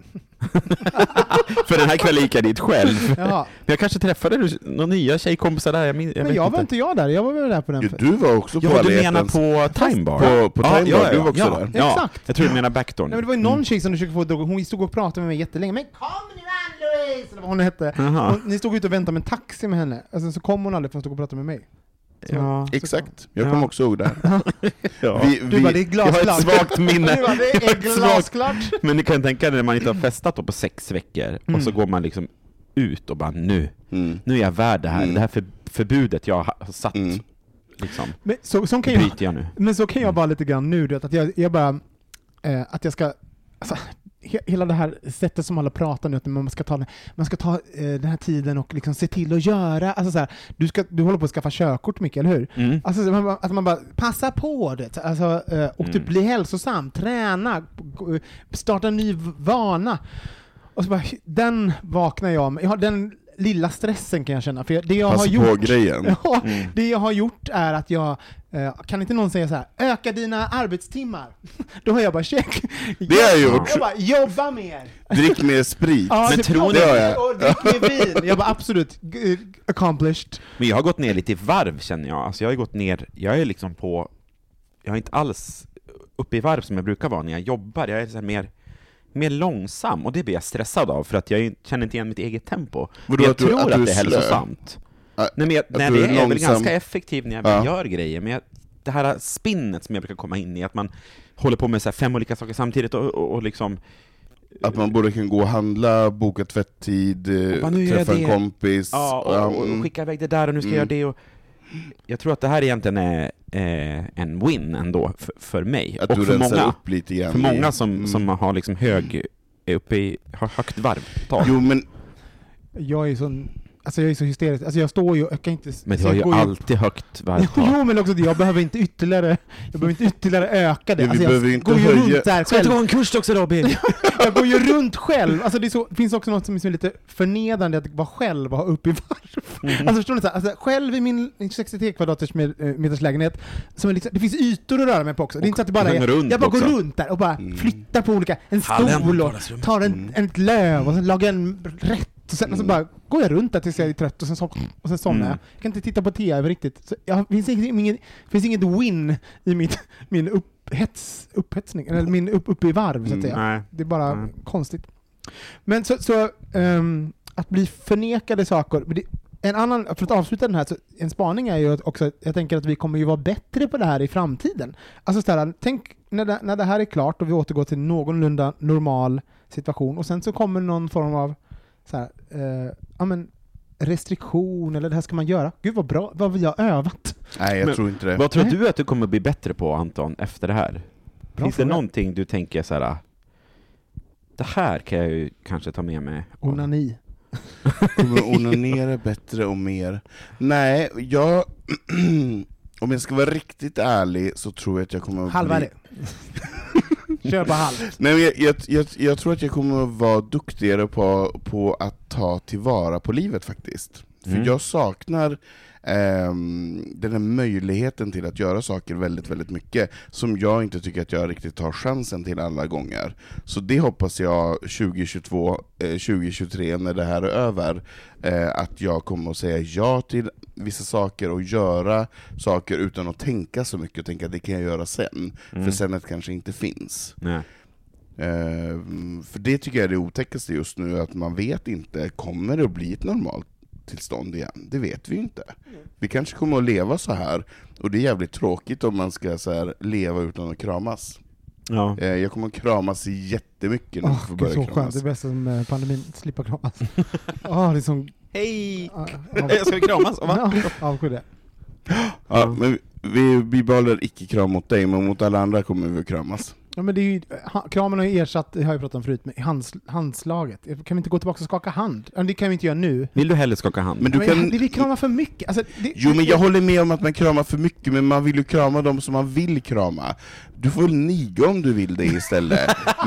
D: För den här kvällen gick jag dit själv.
C: Jaha.
D: Jag kanske träffade några nya tjejkompisar där, jag, min- jag
C: Men
D: vet
C: jag var inte
D: inte.
C: jag där, jag var väl där på den
B: Jo,
C: festen.
B: du var också på
D: Ja, du
B: Alla
D: menar
B: hjärtans-
D: på Time Bar?
B: På, på Time Bar, du var också
D: ja,
B: där.
D: Ja,
C: Exakt.
D: jag tror du menar Backdoor.
C: Nej men det var ju någon tjej som du försökte få drog, hon stod och pratade med mig jättelänge, men kom nu Ann-Louise! Eller vad hon hette.
D: Jaha.
C: Hon, ni stod ute och väntade med en taxi med henne, och sen så kom hon aldrig för hon stod och pratade med mig.
D: Ja.
B: Exakt, jag kommer
D: Ja.
B: också ihåg det. här.
D: Ja.
B: Vi,
C: Du bara, det är
D: Jag har ett
C: glasklart.
D: svagt minne.
C: Du bara, det
D: Jag har
C: är
D: ett svagt-
C: glasklart!
D: Men ni kan tänka er när man inte har festat då på sex veckor och så går man liksom ut och bara nu,
B: Mm.
D: nu är jag värd det här.
B: Mm.
D: Det här för, förbudet jag har satt,
B: Mm.
D: liksom,
C: Men så, så kan jag,
D: bryter jag nu.
C: men så kan jag bara lite grann nu, du vet, att jag, jag bara, eh, att jag ska, alltså, he, hela det här sättet som alla pratar nu, att man ska ta, den- man ska ta eh, den här tiden och liksom se till att göra, alltså så här, du, ska, du håller på att skaffa körkort mycket, eller hur?
D: Mm.
C: Alltså, så man bara- att man bara passa på det, alltså, eh, och typ
B: Mm.
C: bli hälsosam, träna, gå- starta en ny v- vana. Och så bara, den vaknar jag med. Jag har den lilla stressen kan jag känna, för jag, det jag har
B: Passa Alltså, på
C: gjort
B: grejen.
C: Ja, det jag har gjort är att jag, eh, kan inte någon säga så här, öka dina arbetstimmar? Då har jag bara check.
B: Det har jag gjort.
C: Jag bara, jobba mer!
B: Drick mer sprit.
C: Ja,
D: Men
C: typ,
D: tror ni-
B: Det har jag.
C: Och drick mer vin! Jag bara absolut, g- accomplished.
D: Men jag har gått ner lite i varv känner jag. Alltså jag har gått ner, jag är liksom på, jag är inte alls uppe i varv som jag brukar vara när jag jobbar. Jag är så här mer, mer långsam och det blir jag stressad av för att jag känner inte igen mitt eget tempo. Men jag
B: att du-
D: tror
B: att
D: att,
B: du är
D: det är
B: slö?
D: hälsosamt.
B: Att-
D: Nej, men jag,
B: att
D: nej,
B: du
D: det
B: är
D: är jag är väl
B: långsam?
D: ganska effektiv när jag
B: Ja.
D: väl gör grejer, men jag, det här spinnet som jag brukar komma in i, att man håller på med så här fem olika saker samtidigt och, och, och liksom
B: Att man både kan gå och handla, boka tvätttid, eh,
D: bara, nu gör jag
B: träffa en
D: det.
B: kompis.
D: Ja, och,
B: Ja,
D: och,
B: mm.
D: och skicka iväg det där och nu ska jag göra det och Jag tror att det här egentligen är eh, en win ändå för, för mig
B: Att
D: och
B: du
D: för
B: rensar
D: många,
B: upp lite grann.
D: för många som,
B: Mm.
D: som har liksom hög, är uppe i, har högt varvtal.
B: Jo men,
C: Jag är ju sån, alltså jag är så hysterisk, alltså jag står ju, jag kan inte...
D: Men du
C: så jag
D: har ju
C: går
D: alltid högt varvtal.
C: Jo men också det, jag behöver inte ytterligare, jag behöver inte ytterligare öka det.
B: Men vi
C: Alltså, jag
B: behöver ju inte
C: går ju
B: höja-
C: runt där själv.
D: en kurs också Robin?
C: Jag går ju runt själv. Alltså det är så, finns också något som är så lite förnedrande att vara själv och ha upp i varv.
B: Mm.
C: Alltså förstår ni? Så här, alltså, själv i min 63 kvadraters med, eh, meters lägenhet, som är liksom, det finns ytor att röra mig på också. Det är inte så att det bara
D: man
C: är,
D: går runt
C: jag bara går
D: också.
C: runt där och bara
B: Mm.
C: flyttar på olika, en
D: Hallen,
C: stol och
D: vardagsrummet.
C: tar en, en ett löv
D: Mm.
C: och sen lagar en rätt. Och sen, och så bara går jag runt där tills jag är trött och sen, så, och sen somnar
D: Mm.
C: jag. Jag kan inte titta på TV riktigt. Så jag, det finns, inget- ingen, det finns inget win i mitt, min upphets, upphetsning, eller min upp, upp i varv så att säga.
D: Nej.
C: Det är bara
D: Mm.
C: konstigt. Men så, så ehm, att bli förnekade saker. men det- En annan, för att avsluta den här, så en spaning är ju att också, jag tänker att vi kommer ju vara bättre på det här i framtiden. Alltså så här, tänk när det, när det här är klart och vi återgår till någorlunda normal situation och sen så kommer någon form av så här, eh, ja men restriktion eller det här ska man göra. Gud vad bra, vad vi har övat.
B: nej jag
D: Men-
B: tror inte det.
D: Vad tror
C: Nej.
D: du att du kommer bli bättre på Anton, efter det här?
C: Bra
D: Finns det
C: fråga.
D: någonting du tänker så här? det här kan jag ju kanske ta med mig?
C: Onani.
B: Kommer onanera bättre och mer? Nej, jag... Om jag ska vara riktigt ärlig så tror jag att jag kommer att
C: Halva
B: bli...
C: det. Kör på halv.
B: Nej, men jag, jag, jag, jag tror att jag kommer att vara duktigare på, på att ta tillvara på livet faktiskt. För
D: Mm.
B: jag saknar ehm, den här möjligheten till att göra saker väldigt, väldigt mycket, som jag inte tycker att jag riktigt tar chansen till alla gånger. Så det hoppas jag 2022, eh, 2023, när det här är över, eh, att jag kommer att säga ja till vissa saker och göra saker utan att tänka så mycket och tänka att det kan jag göra sen, för senet kanske inte finns.
D: Nej.
B: Eh, för det tycker jag är det otäckaste just nu, att man vet inte, kommer det att bli ett normalt tillstånd igen? Det vet vi ju inte.
C: Mm.
B: Vi kanske kommer att leva så här, och det är jävligt tråkigt om man ska så här, leva utan att kramas.
D: Ja.
B: Eh, jag kommer att kramas jättemycket när jag
C: Åh,
B: får
C: gud
B: börja
C: så skönt.
B: kramas.
C: Det bästa som eh, pandemin, slippa kramas. Åh, liksom, det är som...
D: Hej!
C: ah,
D: Jag ska vi kramas?
C: Av,
D: Va?
C: av, avsky det.
B: Ja, men vi, vi behåller icke-kram mot dig, men mot alla andra kommer vi att kramas.
C: Ja, men det är ju, ha- kramen har ju ersatt, det har jag pratat om förut, med hands, handslaget. Kan vi inte gå tillbaka och skaka hand? Ja, Det kan vi inte göra nu.
D: Vill du hellre skaka hand?
B: Men du
C: men
B: kan...
C: det, vi kramar för mycket. Alltså, det,
B: Jo men jag håller med om att man kramar för mycket, men man vill ju krama de som man vill krama. Du får väl niga om du vill det istället.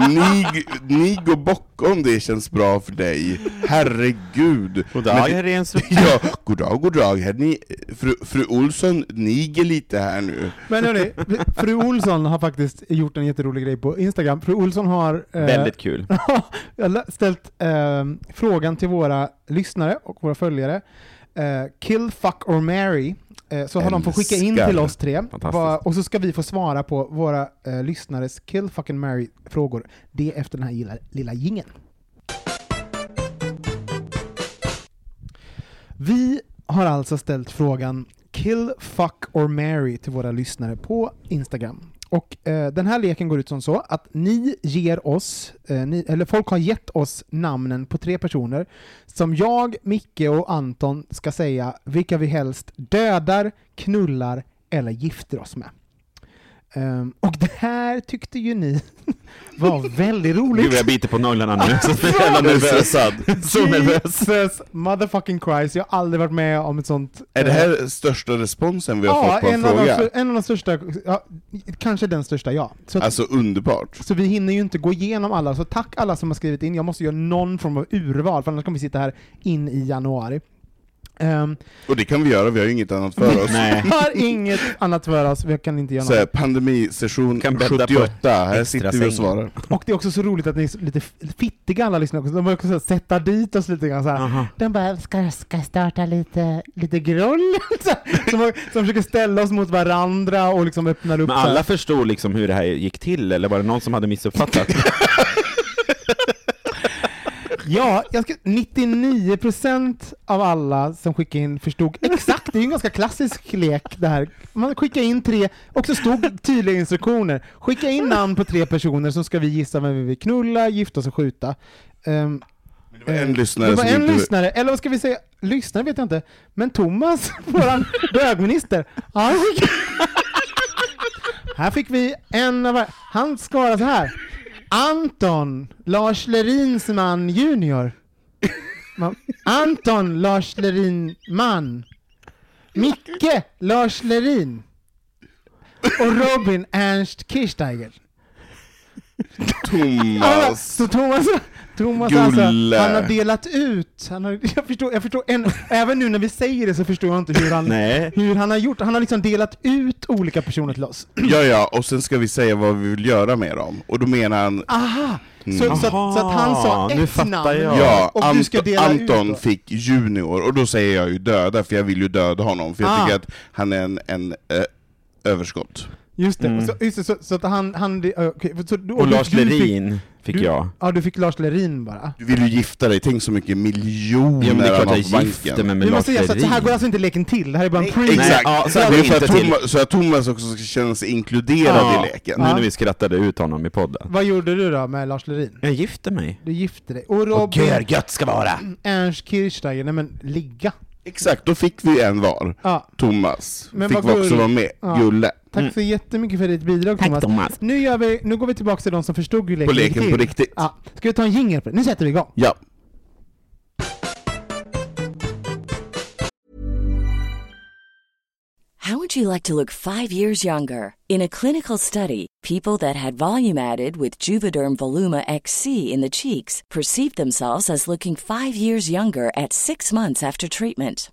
B: Nig, nig och bocka om det känns bra för dig. Herregud. Men det-
D: Rens.
B: Ja, goddag, goddag. Här ni, fru, fru Olsson niger lite här nu.
C: Men hörni, fru Olsson har faktiskt gjort en jätterolig rolig grej på Instagram. Fru Olsson har eh,
E: Väldigt kul.
C: jag har lä- ställt eh, frågan till våra lyssnare och våra följare. Eh, kill, fuck or marry. Eh, så har de fått skicka in
B: Älskar.
C: till oss tre.
D: Fantastiskt.
C: Va- och så ska vi få svara på våra eh, lyssnares kill, fuck and marry-frågor. Det efter den här lilla, lilla jingeln. Vi har alltså ställt frågan Kill, fuck or marry till våra lyssnare på Instagram. Och eh, den här leken går ut som så att ni ger oss, eh, ni, eller folk har gett oss namnen på tre personer som jag, Micke och Anton ska säga vilka vi helst dödar, knullar eller gifter oss med. Ehm, och det här tyckte ju ni var väldigt roligt.
D: Gud, jag biter på naglarna nu. Så jävla
B: Jag är
D: nervös.
B: stressad.
D: Så nervös.
C: Jesus motherfucking Christ, jag har aldrig varit med om ett sånt...
B: Är det
C: eh,
B: här största responsen vi har
C: ja,
B: fått på en
C: en, Av de,
B: fråga?
C: stör- en av de största, ja, kanske den största ja. Så, att,
B: Alltså underbart.
C: så vi hinner ju inte gå igenom alla, så tack alla som har skrivit in. Jag måste göra någon form av urval, för annars kommer vi sitta här in i januari. Ehm,
B: Och det kan vi göra, vi har ju inget annat för oss.
C: vi har inget annat för oss, vi kan inte göra
B: Så här,
C: något.
B: pandemisession
D: Kan bädda på
B: 78, här
D: extra
B: sitter vi
D: sängen.
B: och svarar.
C: Och det är också så roligt att ni är så lite fittiga alla lyssnare också. De har också så här, sätta dit oss lite grann så här.
D: Aha.
C: Den bara, ska, ska starta lite, lite groll? Så här, som, som försöker ställa oss mot varandra och liksom öppnar upp
D: Men
C: så här.
D: alla förstod liksom hur det här gick till, eller var det någon som hade missuppfattat?
C: Ja, jag ska, 99% av alla som skickade in förstod exakt. Det är ju en ganska klassisk lek det här. Man skickar in tre, och så stod tydliga instruktioner. Skicka in namn på tre personer som ska vi gissa vem vi vill knulla, gifta oss och skjuta. Ehm,
B: Det var en lyssnare
C: det var
B: som
C: en
B: inte...
C: lyssnare, eller vad ska vi säga? Lyssnare vet jag inte. Men Thomas, våran bögminister, han skickade... Här fick vi en av... var- Han skara så här. Anton, Lars Lerins man junior. Man- Anton, Lars Lerin man. Micke, Lars Lerin. Och Robin Ernst Kirchsteiger. Alla,
B: Thomas.
C: så Thomas, Thomas
B: Gulle.
C: alltså, han har delat ut. Han har, jag förstår, jag förstår en, även nu när vi säger det så förstår jag inte hur han,
D: Nej.
C: hur han har gjort. Han har liksom delat ut olika personer till oss.
B: Ja, ja, och sen ska vi säga vad vi vill göra med dem. Och då menar han,
C: Aha! Så, så, att, så att han
D: Aha,
C: sa
D: nu
C: ett
D: fattar
C: namn.
D: jag.
B: ja,
C: och du ska
B: Anton,
C: dela ut då.
B: Anton fick junior, och då säger jag ju döda, för jag vill ju döda honom, för jag
C: Ah.
B: tycker att han är en, en eh, överskott.
C: Just det, så, just det så, så att han... han det- ja, okej, så, du-
D: Mm. Och Lars
C: du fick-
D: Lerin fick
C: du-
D: jag.
C: Ja, du fick Lars Lerin bara.
B: Du vill ju gifta dig, tänk så mycket miljoner
D: Ja men det är
B: han
D: klart
B: har
D: jag
B: på
D: gifte
B: banken.
D: mig med
C: Men
D: Lars
C: säga, så, att
D: Lerin.
C: så här går alltså inte leken till, det här är bara en pre
D: Nej,
B: Exakt!
D: ja, så
B: så,
D: här
B: det är
D: går
B: för
D: det
B: att
D: inte
B: Thomas, så att Thomas också ska känna sig inkluderad i leken.
D: Nu när vi skrattade ut honom i podden.
C: Vad gjorde du då med Lars Lerin?
D: Jag gifte mig.
C: Du gifte dig. Och Robin
D: gött ska vara!
C: Ernst Kirchsteiger, nej men ligga.
B: Exakt, då fick vi en var.
C: Ja.
B: Thomas
C: Men
B: fick
C: vad gull-
B: också vara med.
C: Ja.
B: Gulle.
C: Tack så jättemycket för ditt bidrag
D: Tack,
C: Thomas.
D: Thomas.
C: Nu, gör vi, nu går vi tillbaka till de som förstod hur leken
B: På
C: gick
B: leken
C: till.
B: på riktigt.
C: Ja. Ska vi ta en jingel på det? Nu sätter vi igång.
B: Ja.
F: How would you like to look five years younger? In a clinical study, people that had volume added with Juvederm Voluma XC in the cheeks perceived themselves as looking five years younger at six months after treatment.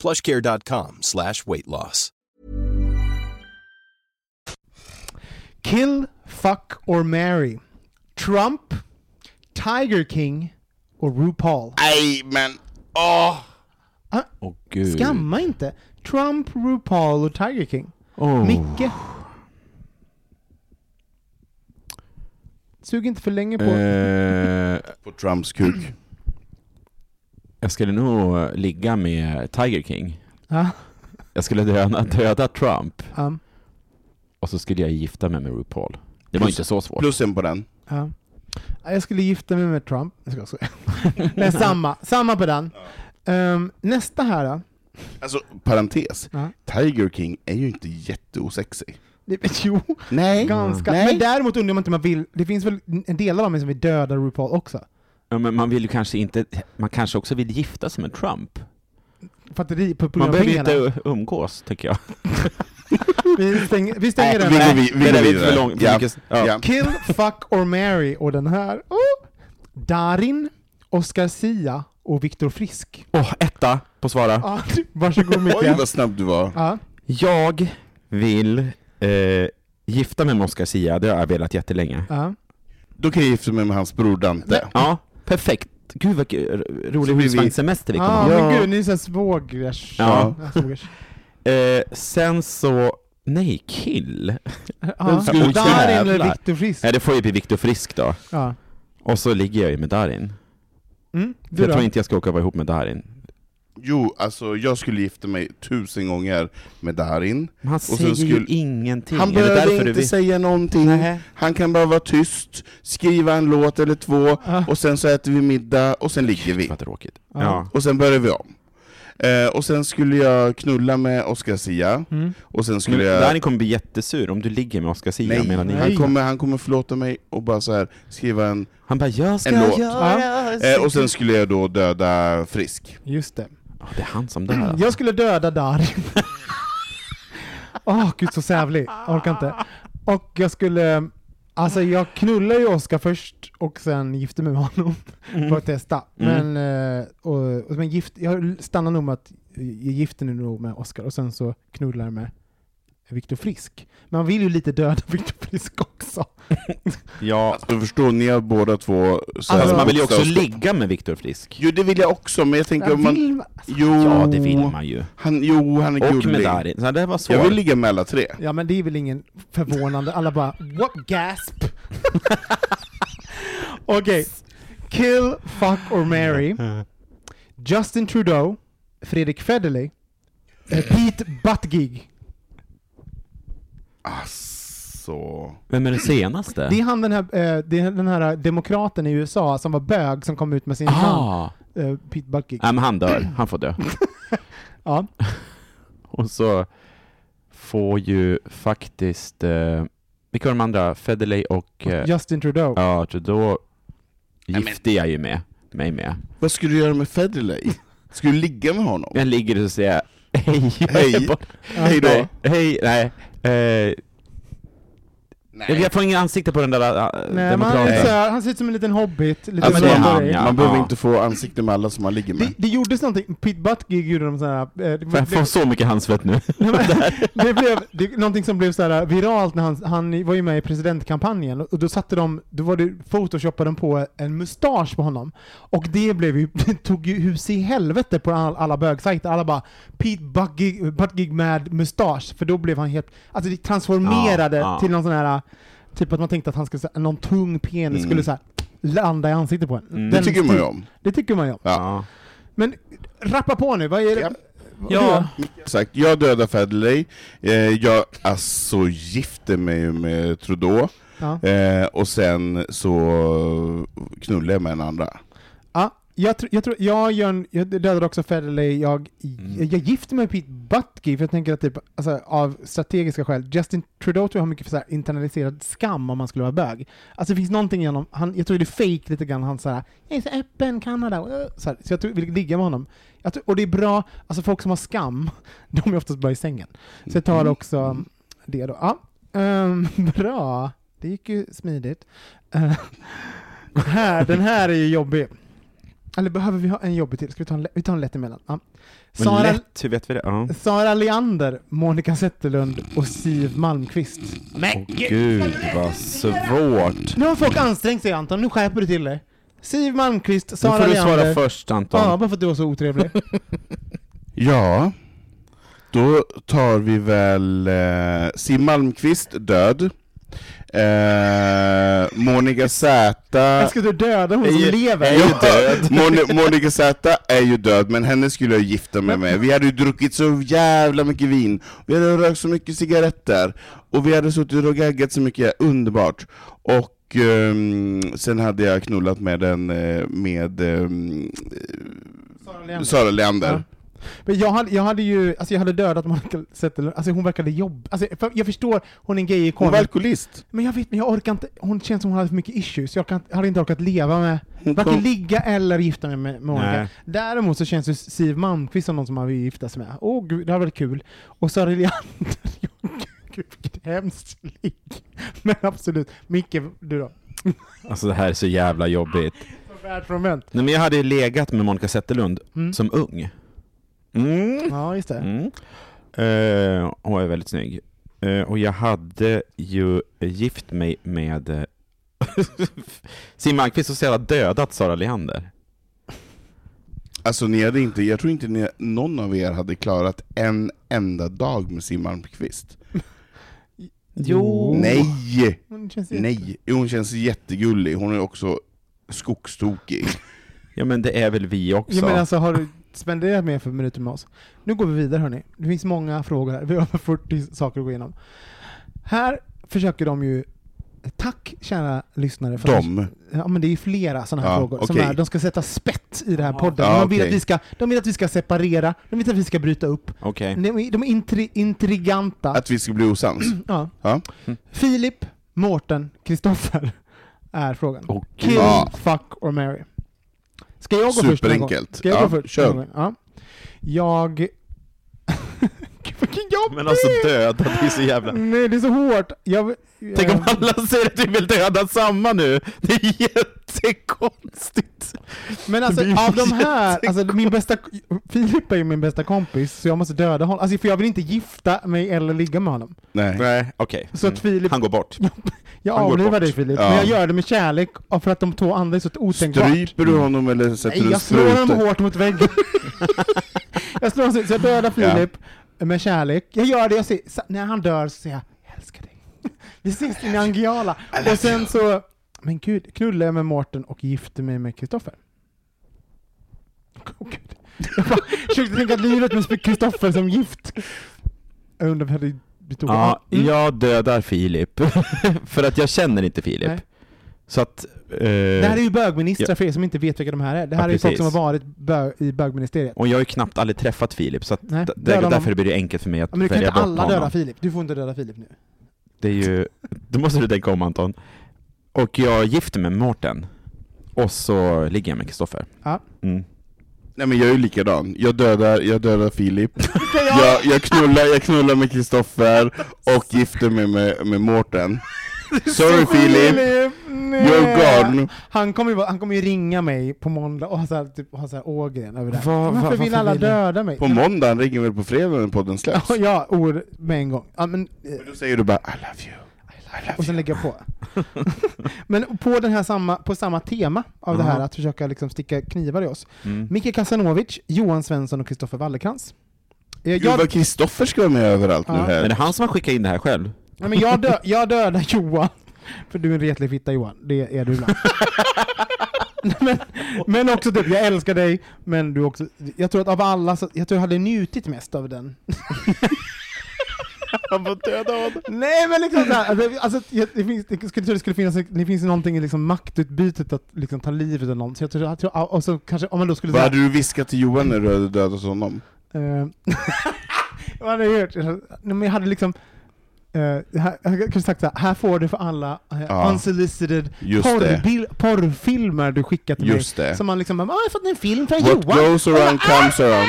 G: Plushcare.com slash weight loss.
C: Kill, fuck or marry? Trump, Tiger King och RuPaul.
B: Nej men, åh!
D: Åh gud.
C: Skamma inte! Trump, RuPaul och Tiger King.
D: Åh.
C: Micke. Sug inte för länge på...
D: Eh,
B: På Trumps kuk.
D: jag skulle nog ligga med Tiger King.
C: Ja,
D: Jag skulle döda, döda Trump
C: ja,
D: och så skulle jag gifta mig med RuPaul. Det var
B: Plus-
D: inte så svårt.
B: Plussen på den.
C: ja. Ja, Jag skulle gifta mig med Trump. Jag ska också. Men samma, samma på den. Ehm, nästa här då.
B: Alltså, parentes.
C: Ja.
B: Tiger King är ju inte jätteosexig.
C: Det- Jo,
B: Nej.
C: ganska.
B: Nej.
C: Men däremot undrar man inte om man vill... Det finns väl en del av mig som vill döda RuPaul också?
D: Ja, men man vill ju kanske inte, man kanske också vill gifta sig med Trump.
C: För att det på, på
D: Man
C: grund av
D: behöver ju
C: pengarna.
D: inte umgås, tycker jag.
C: Vi stänger, vi stänger den
B: vi
C: här.
B: går vi- vi
D: det där
B: går
D: är
B: vidare.
D: för långt. för
B: Ja.
D: mycket- Ja.
B: Ja.
C: Kill, fuck or marry och den här. Oh! Darin, Oscar Sia och Viktor Frisk.
D: Åh, etta på svara.
C: Ah, varsågod
B: Oj
C: Micke.
B: vad snabb du var.
C: Ja.
D: Jag vill eh, gifta mig med Oscar Sia, det har jag velat jättelänge.
C: Ja.
B: Då kan jag gifta mig med hans bror Dante.
D: Ja, perfekt. Gud vad kul- r- rolig
B: Så blir vi-
D: husvagnssemester vi kommer
C: Ah,
D: ha.
C: men gud, ni är såhär svågers.
D: Ja.
C: svågers.
D: Eh, sen så, nej, kill.
C: Ja.
D: skulle-
C: Darin eller
D: Jävlar.
C: Viktor Frisk.
D: Nej, det får ju bli Viktor Frisk då.
C: Ja.
D: Och så ligger jag ju med Darin.
C: Mm,
D: För
C: du
D: jag
C: då?
D: tror inte jag ska åka och vara ihop med Darin.
B: Jo, alltså jag skulle gifta mig tusen gånger med Darin.
D: Men han
B: sen
D: säger ju
B: skulle-
D: ingenting.
B: Han
D: Mm. Är det därför
B: behöver
D: du
B: inte
D: vill-
B: säga någonting.
D: Nähä.
B: Han kan bara vara tyst, skriva en låt eller två,
C: Ja.
B: och sen så äter vi middag, och sen ligger vi.
D: Vad tråkigt.
C: Ja.
D: Ja.
B: Och sen börjar vi om. Eh, och sen skulle jag knulla med Oscar Sia,
C: Mm.
B: och sen
D: Nu,
B: skulle jag...
D: Darin kommer bli jättesur om du ligger med Oscar Sia
B: Nej,
D: medan ni...
B: han
C: Nej.
B: kommer, han kommer förlåta mig och bara så här skriva en...
D: Han bara 'Jag ska
B: En låt.
D: göra
B: Eh, och sen skulle jag då döda Frisk.
C: Just det.
D: Ja, Det är han som dör alltså.
C: Jag skulle döda Darin. Åh gud så sävlig. Jag orkar inte. Och jag skulle... Alltså jag knullar ju Oskar först och sen gifte mig med honom för att testa.
D: Mm.
C: Men, eh, och, och, men gift, jag stannar nog med att jag gifter mig nog med Oskar och sen så knullar jag med Viktor Frisk. Men man vill ju lite döda Viktor Frisk också.
D: Ja,
B: Alltså, Du förstår, ni har båda två... Så här
D: alltså man vill ju också
B: bokstavs-
D: ligga med Viktor Frisk.
B: Jo, det vill jag också, men jag tänker
C: Jag
B: om man...
C: vill,
B: Jo,
D: Ja, det vill man ju.
B: Han, jo, han är
D: Och med
B: gullig.
D: Darin. Så det var svårt.
B: Jag vill ligga med alla tre.
C: ja men det är väl ingen förvånande. Alla bara what gasp. Okej. Kill, fuck or marry. Justin Trudeau, Fredrik Federley, eh, Pete Buttigieg.
B: Asså...
D: Vem är den senaste?
C: Det är han den här, eh, det är den här demokraten i USA som var bög som kom ut med sin man,
D: Ah.
C: eh, Pete Buttigieg.
D: Nej, men han dör. Han får dö.
C: Ja.
D: Och så får ju faktiskt... Eh, vilka var de andra? Federley och... Eh,
C: Justin Trudeau.
D: ja, så då
B: men-
D: gifte jag ju med. Mig med.
B: Vad skulle du göra med Federley? Skulle du ligga med honom?
D: Jag ligger och säger hej. jag är
B: Hej.
D: bort-
B: Hej då!
D: Nej, hej, nej. Eh,
B: Nej.
D: jag får ingen ansikte på den där eh,
C: Nej, men han, är
D: demokraten.
C: lite så här, han ser ut som en liten hobbit. Lite
D: Ja, men det är
C: så-
D: han, ja.
B: Alltså, Man behöver inte få ansikte med alla som man ligger
C: det,
B: med.
C: det gjordes någonting, Pete Buttigieg gjorde de såhär... Eh, det,
D: För jag får
C: det,
D: så mycket handsvett nu.
C: det blev det, någonting som blev såhär viralt när han, han var ju med i presidentkampanjen och då satte de, då var det, photoshoppade de på en mustasch på honom. Och det blev ju, tog ju hus i helvete på all, alla bögsajter. Alla bara Pete Buttigieg, Buttigieg med mustasch, för då blev han helt, alltså det transformerade
D: Ja, ja.
C: till någon sån här, typ att man tänkte att han skulle, så här- någon tung penis
D: Mm.
C: skulle såhär landa i ansiktet på
B: Det
C: en. Den
B: tycker man ju
C: stil-
B: om.
C: Det tycker man ju om.
D: Ja.
C: Men rappa på nu, vad är det?
B: Ja.
C: vad-
D: Ja.
B: Exakt. Jag dödar Federley, eh, jag alltså gifter mig med Trudeau,
C: Ja.
B: eh, och sen så knullar jag med en andra.
C: Ja. Jag, tr- jag, tror, jag, gör en, jag dödar också Federley, jag, jag, jag gifter mig med Pete Buttigieg för jag tänker att typ, alltså, av strategiska skäl, Justin Trudeau tror jag har mycket så här internaliserad skam om man skulle vara bög. Alltså det finns någonting i honom, han, jag tror det är fake lite grann, han såhär ”Jag är så öppen, Kanada”, uh, så, här, så jag tror, vill ligga med honom. Jag tror, och det är bra, alltså folk som har skam, de är oftast bra i sängen. Så jag tar också det då. Ja, ehm, bra. Det gick ju smidigt. Eh, här, den här är ju jobbig. Eller behöver vi ha en jobbig till? Ska vi ta en, lä- vi tar en lätt emellan? Ja.
D: Men
C: Sara,
D: lätt, hur vet vi det? Ja.
C: Sara Leander, Monica Zetterlund och Siv Malmqvist.
D: Men gud vad svårt!
C: Nu har folk ansträngt sig Anton, nu skärper du till dig. Siv Malmqvist,
D: Nu
C: Sara
D: får du
C: Leander.
D: svara först Anton.
C: Ja, bara för att du var så otrevlig.
B: Ja, då tar vi väl eh, Siw Malmkvist död. Eh, Monica Z...
C: Jag ska du döda hon som
D: Hej.
C: lever?
D: Hej.
B: Ja, Moni- Monica Z är ju död, men henne skulle jag gifta mig med. Vi hade ju druckit så jävla mycket vin, vi hade rökt så mycket cigaretter, och vi hade suttit och gaggat så mycket, underbart. Och ehm, sen hade jag knullat med den, eh, med ehm,
C: Sara Leander.
B: Sara Leander.
C: Ja. Men jag hade, jag hade ju, alltså jag hade dödat Monica Zetterlund, alltså hon verkade jobb... Alltså för- jag förstår, hon är en gay-ikon.
B: Hon var alkoholist.
C: Men jag vet, men jag orkar inte, hon känns som hon hade för mycket issues, jag kan, hade inte orkat leva med,
B: Hon
C: varken
B: kom-
C: ligga eller gifta mig med Monica.
D: Nej.
C: Däremot så känns ju Siw Malmkvist som någon som man vill gifta sig med. Åh gud, det hade varit kul. Och Sara Leander, ja, gud vilket hemskt ligg. Men absolut. Micke, du då?
D: Alltså det här är så jävla jobbigt.
C: Som världsfrånvänt.
D: Nej men jag hade ju legat med Monica Zetterlund
C: Mm.
D: som ung. Mm.
C: Ja, just det.
D: Mm. Eh, hon är väldigt snygg. Eh, och jag hade ju gift mig med eh, Siw Malmkvist och så jävla dödat Sara Leander.
B: Alltså ni hade inte, jag tror inte ni, någon av er hade klarat en enda dag med Siw Malmkvist.
C: Jo.
B: Nej!
C: Hon känns ju-
B: Nej! Jo, Hon känns jättegullig, hon är också skogstokig.
D: Ja men det är väl vi också.
C: Ja, men alltså, har du spenderat mer för minuter med oss? Nu går vi vidare hörni. Det finns många frågor här. Vi har över 40 saker att gå igenom. Här försöker de ju... Tack kära lyssnare. För att-
B: De.
C: Ja men det är ju flera sådana här
B: Ja,
C: frågor. Som
B: okej.
C: är, de ska sätta spett i den här podden.
B: Ja,
C: de, vill
B: okej.
C: att vi ska, de vill att vi ska separera, de vill att vi ska bryta upp.
D: Okej.
C: De är, de är intri, intriganta.
B: Att vi ska bli osams.
C: ja.
B: Ja.
C: Filip, Mårten, Kristoffer är frågan.
D: Åh, gud.
C: Kill,
B: Ja.
C: fuck or marry. Ska jag gå först någon gång?
B: Superenkelt.
C: Ska jag
B: Ja,
C: gå först?
B: kör.
C: någon gång? Ja. Jag... Gud, Vilken jobbig!
D: Men alltså dödat, det är så jävla...
C: Nej, det är så hårt. Jag...
D: Tänk om
C: eh,
D: alla säger att vi vill döda samma nu! Det är jättekonstigt!
C: Men alltså
D: Det blir
C: av de här,
D: jättekonstigt.
C: alltså min bästa, Filip är ju min bästa kompis, så jag måste döda honom. Alltså för jag vill inte gifta mig eller ligga med honom.
B: Nej.
D: Nej, okej.
C: Så att Filip,
D: Mm. Han går bort.
C: jag
D: han går
C: avlivar
D: bort.
C: dig Filip,
B: Ja.
C: men jag gör det med kärlek och för att de två andra är så otänkbara.
B: Stryper du honom eller sätter
C: Nej,
B: du
C: jag slår honom
B: struten?
C: hårt mot väggen. jag slår honom, så jag dödar Filip med kärlek. Jag gör det, jag säger, sa- när han dör så säger jag, jag älskar dig. Vi ses i Nangijala. Och sen så, men gud, knullar jag med Mårten och gifter mig med Kristoffer. Åh gud. Jag bara försökte tänka livet med Kristoffer som gift. Jag undrar om jag hade blivit
D: Ja,
C: obehaglig. Mm.
D: jag dödar Filip. för att jag känner inte Filip.
C: Nej.
D: Så att... Eh,
C: Det här är ju bögministrar
D: Ja.
C: för er som inte vet vilka de här är. Det här
D: Ja,
C: är ju folk
D: precis.
C: som har varit bö- i bögministeriet.
D: Och jag har ju knappt aldrig träffat Filip, så att
C: Nej,
D: d-
C: döda
D: där,
C: honom.
D: därför blir det enkelt för mig att
C: Ja, Men du kan
D: välja
C: inte
D: bort
C: alla döda
D: honom.
C: Filip. Du får inte döda Filip nu.
D: Det är ju... Det måste du tänka om Anton. Och jag gifter mig med Mårten. Och så ligger jag med Kristoffer.
C: Ja.
D: Mm.
B: Nej men jag är ju likadan. Jag dödar, jag dödar Filip.
C: jag-
B: jag, jag, knullar, jag knullar med Kristoffer och gifter mig med, med Mårten. Sorry Filip,
C: nej.
B: you're gone.
C: Han kommer, ju, vara- han kommer ju ringa mig på måndag och ha såhär typ, ha så här Ågren över det här.
D: Va- va-
C: Varför vill
D: varför
C: alla
D: vill du-
C: döda mig?
B: På måndagen ringer väl på fredag när podden släpps?
C: Ja, ja, ord med en gång. Ja, men, eh,
B: Då säger du bara I love you. I love
C: och sen lägger jag på. men på, den här samma, på samma tema av det här att försöka liksom sticka knivar i oss.
D: Mm.
C: Micke Kasanovic, Johan Svensson och Kristoffer Wallercrantz. Eh,
B: you. Gud vad Kristoffer ska vara med överallt nu
C: Ja.
D: Men
B: här.
D: det är han som har skickat in det här själv.
C: Nej, men jag, dö- jag dödar Johan. För du är en retlig fitta Johan, det är du ibland. Nej, men, men också typ, jag älskar dig, men du också... Jag tror att av alla, så, jag tror jag hade njutit mest av den.
B: Han får döda honom.
C: Nej men liksom såhär, alltså, alltså, jag- det, finns, det, skulle, det skulle finnas, det finns någonting i liksom maktutbytet att liksom ta livet av någon, så jag tror, jag tror och så kanske, om man då skulle
B: Vad hade du viskat till Johan när du hade dödat honom?
C: Eh, Vad hade jag gjort? Jag hade- Nej, men jag hade liksom eh, här, jag hade kanske sagt såhär, här får du för alla eh,
B: Ja.
C: unsolicited
B: Just det.
C: porrbil, porrfilmer du skickat till
B: Just
C: mig.
B: det.
C: Som man liksom, ah, jag har fått en film från
B: What
C: Johan!
B: goes around comes around.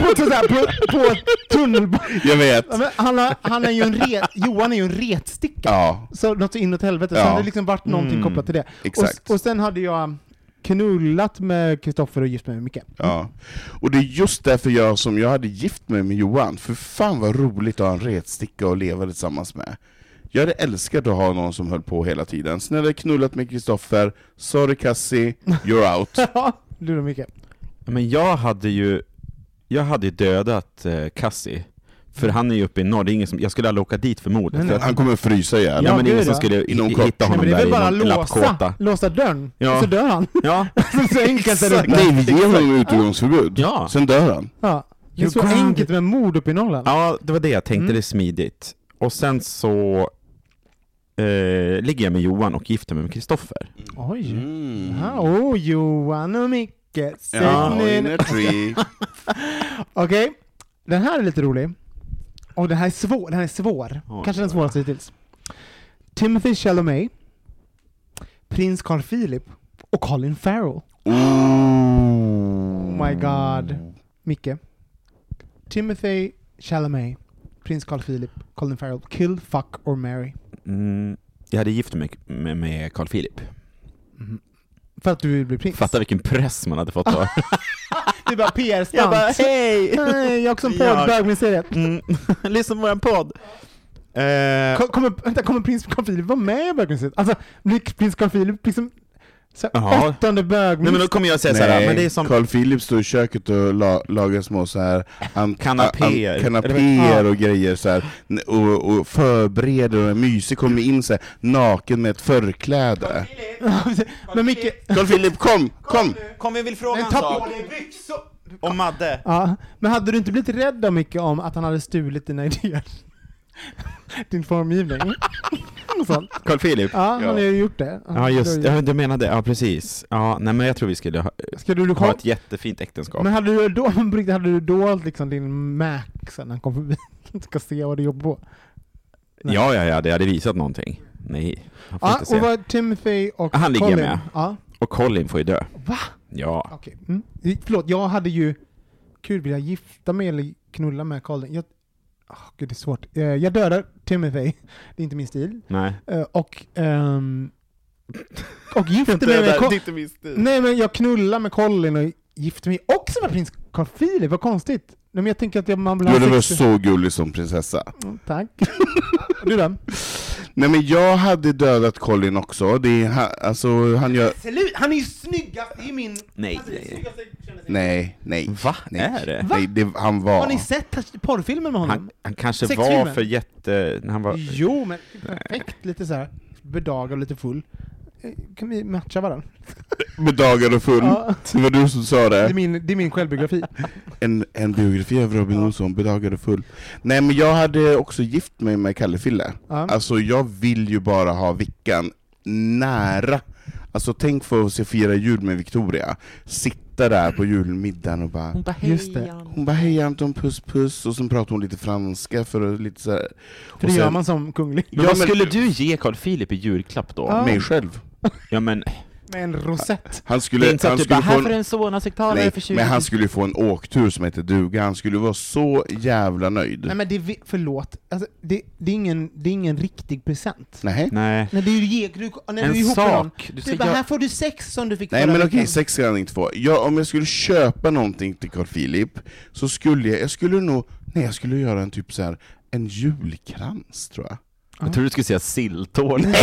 C: på, sådär, på, på tunnelbanan.
B: Jag vet.
C: Ja, men Han, har- han är ju en ret, Johan är ju en retsticka.
B: Ja,
C: Så något så inåt helvete.
B: Ja.
C: Så hade det liksom varit någonting
E: Mm,
C: kopplat till det.
B: exakt.
C: Och, och sen hade jag knullat med Kristoffer och gift mig med Micke.
B: Ja. Och det är just därför jag som jag hade gift mig med Johan, för fan vad roligt att ha en retsticka och leva tillsammans med. Jag hade älskat att ha någon som höll på hela tiden. Sen hade jag knullat med Kristoffer, sorry Cassie, you're out.
C: Ja, du då Micke.
D: Men jag hade ju Jag hade ju dödat eh, Cassie För han är ju uppe i norr, det är ingen som, jag skulle aldrig åka dit förmodligen
C: Nej,
D: för
C: nej.
D: att,
B: Han kommer frysa ihjäl.
D: Ja men
C: gud,
D: ingen som
C: ja.
D: skulle
B: Inom
D: i-
B: kort.
D: hitta
C: Nej,
D: honom
C: men det är
D: där
C: väl
D: i
C: bara
D: någon
C: låsa,
D: lappkåta
C: låsa dörren,
D: Ja.
C: så dör han.
D: Ja,
C: så enkelt är det.
B: Nej, vi ger honom utgångsförbud.
D: Ja.
B: Sen dör han.
C: Ja. Det är
D: You
C: så
D: got
C: enkelt
D: it.
C: med mord uppe i Norrland.
D: ja det var det jag tänkte,
C: Mm.
D: det är smidigt Och sen så eh, Ligger jag med Johan och gifter mig med Kristoffer
C: Oj. Ja, oh, Johan och Micke. sätt
B: Ja,
C: ner-
B: in a tree.
C: Okej, den här är lite rolig. Och den här är svår. Den här är svår.
D: Oj,
C: Kanske den svåraste hittills. Timothy Chalamet, prins Carl Philip och Colin Farrell.
B: Oh.
C: Oh my god. Micke. Timothy Chalamet, prins Carl Philip, Colin Farrell. Kill, fuck or marry.
D: mm, Jag hade gift mig med, med Carl Philip
C: För att du vill bli prins.
D: Fatta vilken press man hade fått då
C: Det är bara PR-stunt.
D: hej!
C: Nej, jag som
D: Jag-
C: podd, med seriet.
D: Mm. Lyssna på våran podd! Eh,
C: Ko- Kommer, vänta, kommer prins Carl Philip vara med i bögmuseet? Alltså, blir prins Carl Philip liksom så här,
D: Jaha.
C: åttonde
D: Nej
C: bögminister?
D: men då kommer jag säga
B: Nej,
D: såhär, men det är som
B: Carl Philip står i köket och la, lagar små så här an,
D: Kanapéer.
B: an-
D: Eller
B: kanapéer och grejer så här, N- och, och förbereder och är mysig, kommer in så här, naken med ett förkläde.
C: men Micke...
B: Carl Philip kom, kom!
D: Kom vi vill fråga
C: en sak.
D: om Madde.
C: Ja, men hade du inte blivit rädd då Micke om att han hade stulit dina idéer? Din formgivning? Och sånt.
D: Carl Philip?
C: Ja, han har ju gjort det.
D: Ja just
C: det. har
D: ja,
C: ju-
D: du menade, ja precis. Ja, nej men jag tror vi skulle ha,
C: Ska du, du
D: ha
C: kom,
D: ett jättefint äktenskap.
C: men hade du då, på riktigt, hade du dolt liksom din Mac sen när han kom förbi? Ska se vad du jobbar på. nej.
D: Ja, ja, ja, det hade visat någonting. Nej, han får
C: Ja,
D: inte se.
C: och vad Timothy och
D: Han ligger
C: Colin.
D: med.
C: Ja,
D: Och Colin får ju dö.
C: Va?
D: Ja.
C: okej. Mm. Förlåt, jag hade ju... Gud, vill jag gifta mig eller knulla med Colin? Jag, oh, gud, det är svårt. Eh, Jag dödar Timothy, det är inte min stil.
D: Nej.
C: Eh, Och... ehm, och gifter mig med Colin.
B: inte minst
C: Nej men jag knullar med Colin och gifter mig också med prins Carl Philip, vad konstigt. Nej, men jag tänker att jag, man vill
B: Du
C: ha
B: hade varit
C: sex-
B: så gullig som prinsessa.
C: Mm, Tack. du då?
B: Nej men jag hade dödat Colin också, det är, han, alltså han gör...
C: Han är ju snyggast i min... Alltså,
D: Nej, nej, nej.
B: Nej, nej.
D: Va?
B: Nej.
D: Är det?
B: Nej, det, han var...
C: Har ni sett porrfilmen med honom?
D: Han, han kanske
C: Sexfilmer.
D: var för jätte... När han var...
C: Jo, men perfekt. Lite så här bedagad och lite full. Eh, Kan vi matcha varandra?
B: Eh. Bedagad och full.
C: Ja.
B: Det var du som sa
C: Det
B: det.
C: är min, det är min självbiografi.
B: En, en biografi av Robin Olsson, bedagad och full. Nej men jag hade också gift mig med Kalle Fille.
C: Ja.
B: Alltså jag vill ju bara ha Vickan nära. Alltså tänk få se fira jul med Victoria. Sitta där på julmiddagen och bara
C: Just det.
B: Hon bara hej Anton, puss puss, och sen pratar hon lite franska för att lite så här.
C: För
B: Och
C: det gör
B: sen-
C: man som kunglig.
D: Men
B: Ja,
D: vad
B: men-
D: skulle du ge Carl Philip i julklapp då?
C: Ja.
B: Mig själv.
D: Ja men,
C: Med en rosett.
B: Han
D: det är
B: skulle,
D: inte så
B: han
D: att du
B: skulle
D: bara,
B: få
D: här får du
B: en,
D: en Sonasektalare
B: nej,
D: för 20
B: men han skulle ju få en åktur som heter duga, han skulle vara så jävla nöjd.
C: Nej men det är, vi- förlåt. Alltså, det, det, är ingen, det är ingen riktig present.
B: Nej.
D: Nej.
C: När du ger, du, när
D: En
C: du är ihop med någon.
D: sak. Du
C: Du
D: ska
C: bara,
D: göra-
C: här får du sex som du fick
B: Nej
C: förra
B: men
C: veckan."
B: okej, sex kan han inte få. Jag, om jag skulle köpa någonting till Carl Philip, så skulle jag, jag skulle nog, nej jag skulle göra en typ så här en julkrans tror jag.
D: Jag trodde du skulle säga silltårta. jag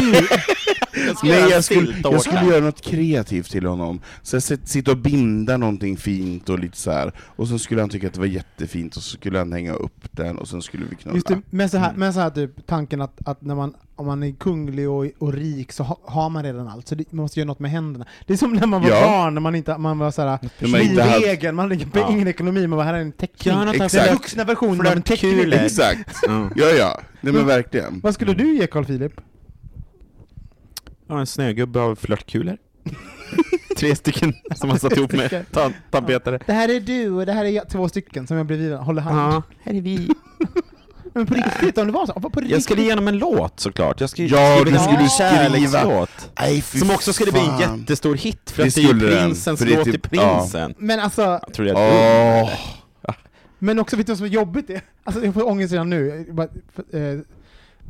B: Nej, jag, skulle, jag skulle göra något kreativt till honom. Så jag sit- sitta och binda någonting fint och lite så här. och så skulle han tycka att det var jättefint, och så skulle han hänga upp den, och sen skulle vi knulla.
C: Just det, men så här, men så här typ tanken att, att när man om man är kunglig och, och rik så ha, har man redan allt, så det, man måste göra något med händerna. Det är som när man var
B: Ja.
C: barn, när man inte man var såhär
B: Hur man inte haft-
C: egen, man hade ingen- ingen ekonomi, man var här är en teckning.
D: Jag har något
B: Exakt.
C: Den
B: haft-
C: vuxna versionen av en teckning.
B: Mm.
D: Flörtkulor.
B: Exakt! Ja, ja. Nej men verkligen.
C: Vad skulle du ge Carl Philip?
D: Ja, en snögubbe av flörtkulor. Tre stycken som han satt ihop med ta- tandpetare.
C: Det här är du och det här är jag, två stycken som jag bredvid håller hand.
D: Ja, här är vi.
C: Men på riktigt, om det var så? På riktigt?
D: Jag skulle ge honom en låt såklart. Jag skulle
B: Ja,
D: skriva
B: du
D: en
B: skulle
D: kärlekslåt.
B: Nej, fy
D: Som också skulle bli en
B: fan.
D: jättestor hit för
B: Det
D: att det är ju
B: skulle den,
D: prinsens
B: för det är
D: låt till
B: typ- ja.
D: prinsen.
C: Men alltså,
D: Jag tror det är
B: Åh!
C: Men också, vet du vad som är jobbigt? Är? Alltså jag får ångest redan nu. Jag bara- för- eh,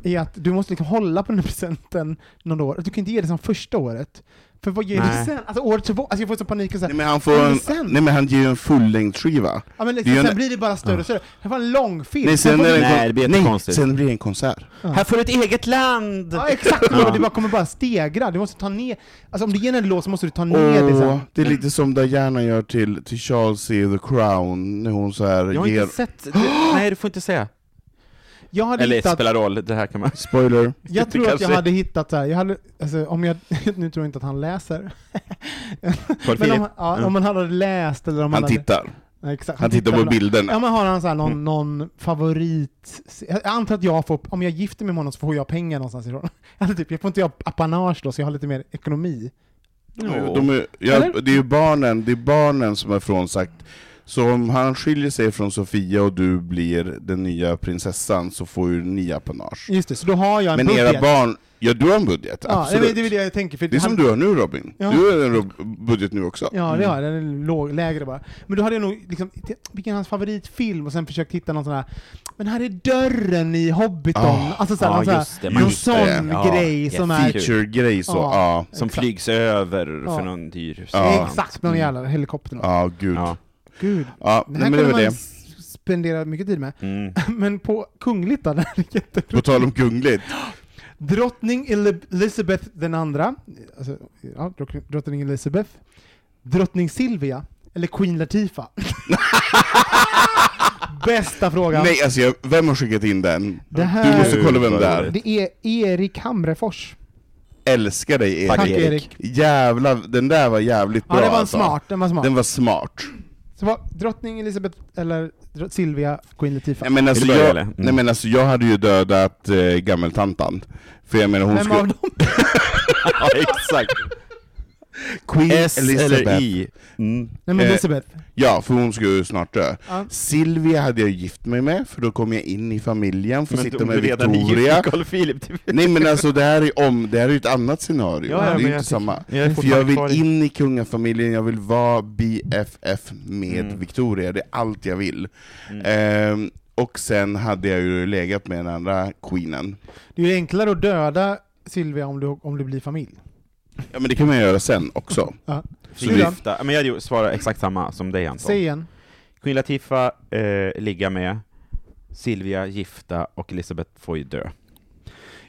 C: Är att du måste liksom hålla på den här presenten något år. Du kan inte ge det som första året. För vad ger du
D: Nej.
C: sen? Alltså året tillbaka, alltså jag får så panik och så här,
B: Nej men han får
C: Men
B: en,
C: sen-
B: nej men han ger ju en fullängdsskiva.
C: ja, men
B: det är
C: liksom,
B: ju
C: sen
B: en-
C: blir det bara större och större. Det var en lång film.
B: Nej sen
C: får
B: är
C: du-
B: det en,
D: Nej, det blir
B: kon- nej,
D: jättekonstigt.
B: sen blir det en konsert.
D: Här får du ett eget land!
C: Ja exakt,
D: Ja.
C: det bara kommer bara stegra. Du måste ta ner, alltså om du ger en låt så måste du ta ner det
B: Åh,
C: sen.
B: det är lite som Diana gör till, till Charles i The Crown, när hon så här
D: Jag har
B: ger...
D: inte sett... det- Nej, du får inte säga.
C: Jag hade
D: Eller
C: hittat,
D: spelar roll, det här kan man...
B: Spoiler.
C: jag tror att jag
D: kanske-
C: hade hittat så här, jag hade, alltså, om jag, nu tror jag inte att han läser. Men om, ja,
D: Mm.
C: om man hade läst eller om
B: Han
C: man hade...
B: tittar.
C: Ja, exakt.
B: Han tittar på
C: på- Ja
B: bilderna.
C: men har han så här
B: Mm.
C: någon, någon favorit... Jag antar att jag får, om jag gifter mig med honom så får jag pengar någonstans ifrån. Alltså typ, jag får inte jag apanage då så jag har lite mer ekonomi.
B: De är,
C: Eller?
B: ja, det är ju barnen, det är barnen som är frånsagt. Så om han skiljer sig från Sofia och du blir den nya prinsessan så får ju ni apanage.
C: Just det, så då har jag en
B: Men
C: budget.
B: era barn, ja du har en budget,
C: ja, det,
B: absolut.
C: är- det är det jag tänker. För
B: Det är
C: han-
B: som du Mm. har nu Robin.
C: Ja.
B: Du har en ro- budget nu också.
C: Ja, det har jag. Den är låg, lägre bara. Men då hade jag nog liksom, t- vilken är hans favoritfilm? Och sen försökt hitta någon sån här, men här är dörren i Hobbiton.
B: Ah,
C: alltså så här,
D: ja,
C: någon, sån här,
D: just det,
C: någon
D: just
C: sån
B: det.
D: Ja,
C: grej som är...
D: jättefint.
B: Feature-grej så,
C: Ja.
B: ja.
D: Som
C: Exakt.
D: flygs över
C: Ja.
D: för någon dyr... Mm.
B: Ja.
C: Exakt, någon jävla helikopter. eller något.
B: Ja, gud.
D: Ja.
C: Gud.
B: Ja,
C: Det
B: nej,
C: här
B: men det
C: kunde
B: var
C: man
B: det.
C: s- spendera mycket tid med.
D: Mm.
C: Men på kungligt då, det här är jätteroligt.
B: På tal om kungligt.
C: Drottning Ele- Elizabeth den andra, alltså, ja, drott- drottning Elizabeth, drottning Silvia, eller Queen Latifah? Bästa frågan.
B: Nej, alltså jag, vem har skickat in den?
C: Det här-
B: Du måste kolla vem det är.
C: Det är Erik Hamrefors.
B: Älskar dig Erik.
D: Tack,
C: Tack
D: Erik.
C: Erik.
B: Jävlar, den där var jävligt bra
C: Ja, det var en
B: alltså.
C: smart. Den var smart.
B: Den var smart.
C: Så var drottning Elizabeth, eller dro- Silvia, Queen Latifah.
B: Nej men, alltså,
D: Vill du börja,
B: jag,
D: eller? Mm.
B: nej men alltså jag hade ju dödat eh, gammeltantan. För jag menar hon
C: Vem
B: skulle...
C: av dem?
D: Ja, exakt.
B: Queen
D: S eller
B: Elizabeth.
D: I. Mm.
C: Nej men
B: Eh,
C: Elizabeth.
B: Ja, för hon skulle ju snart dö.
C: Ja.
B: Silvia hade jag gift mig med, för då kom jag in i familjen, får sitta med Victoria.
D: Carl Philip. typ.
B: Nej men alltså det här är om, det här är ju ett annat scenario.
D: Ja,
B: det
D: ja,
B: är
D: men
B: ju
D: jag
B: inte samma.
D: Jag är
B: För jag
D: fortfarande kvar
B: vill
D: i...
B: in i kungafamiljen, jag vill vara BFF med
D: Mm.
B: Victoria, det är allt jag vill.
D: Mm.
B: Ehm, och sen hade jag ju legat med den andra queenen.
C: Det är ju enklare att döda Silvia om du, om du blir familj.
B: Ja men det kan man göra sen också.
C: Ja.
B: Så
C: Du
B: vi,
C: då?
D: Lyfta. Ja, Men jag hade svarar exakt samma som dig Anton.
C: Säg igen.
D: Queen Latifah eh, ligga med, Silvia gifta och Elisabeth får ju dö.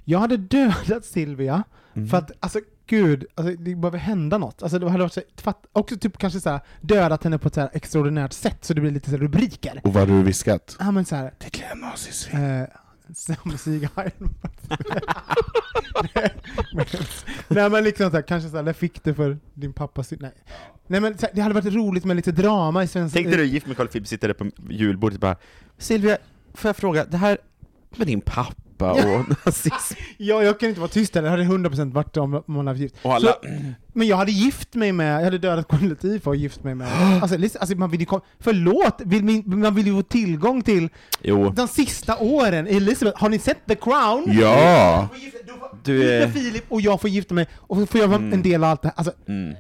C: Jag hade dödat Silvia
D: Mm.
C: för att, alltså gud, alltså, det behöver hända något. Alltså det hade varit så, fatt, också typ kanske såhär, dödat henne på ett såhär extraordinärt sätt så det blir lite såhär rubriker.
B: och vad hade du viskat?
C: Ja men såhär,
B: Det klär nazisvin.
C: eh, som Sieg Heil. Nej men liksom såhär, kanske såhär, där fick du för din pappas synd. Nej. Nej men såhär, det hade varit roligt med lite drama i svensk...
D: Tänkte du gift med Carl Philip, sitter där på julbordet och bara Silvia, får jag fråga, det här med din pappa och nazism?
C: Ja, jag kan inte vara tyst där, det hade 100% varit om om man hade gift.
D: Och alla-
C: Så, men jag hade gift mig med, jag hade dödat Queen Latifah och gift mig med... Alltså, listen, alltså man vill ju kom, förlåt, vill, min- man vill ju få tillgång till
D: Jo,
C: de sista åren i Elizabeth. Har ni sett The Crown?
B: Ja!
C: Får gifta- då får-
D: Du
C: gifta
D: är-
C: Filip och jag får gifta mig, och så får jag vara en del av allt det här. Alltså,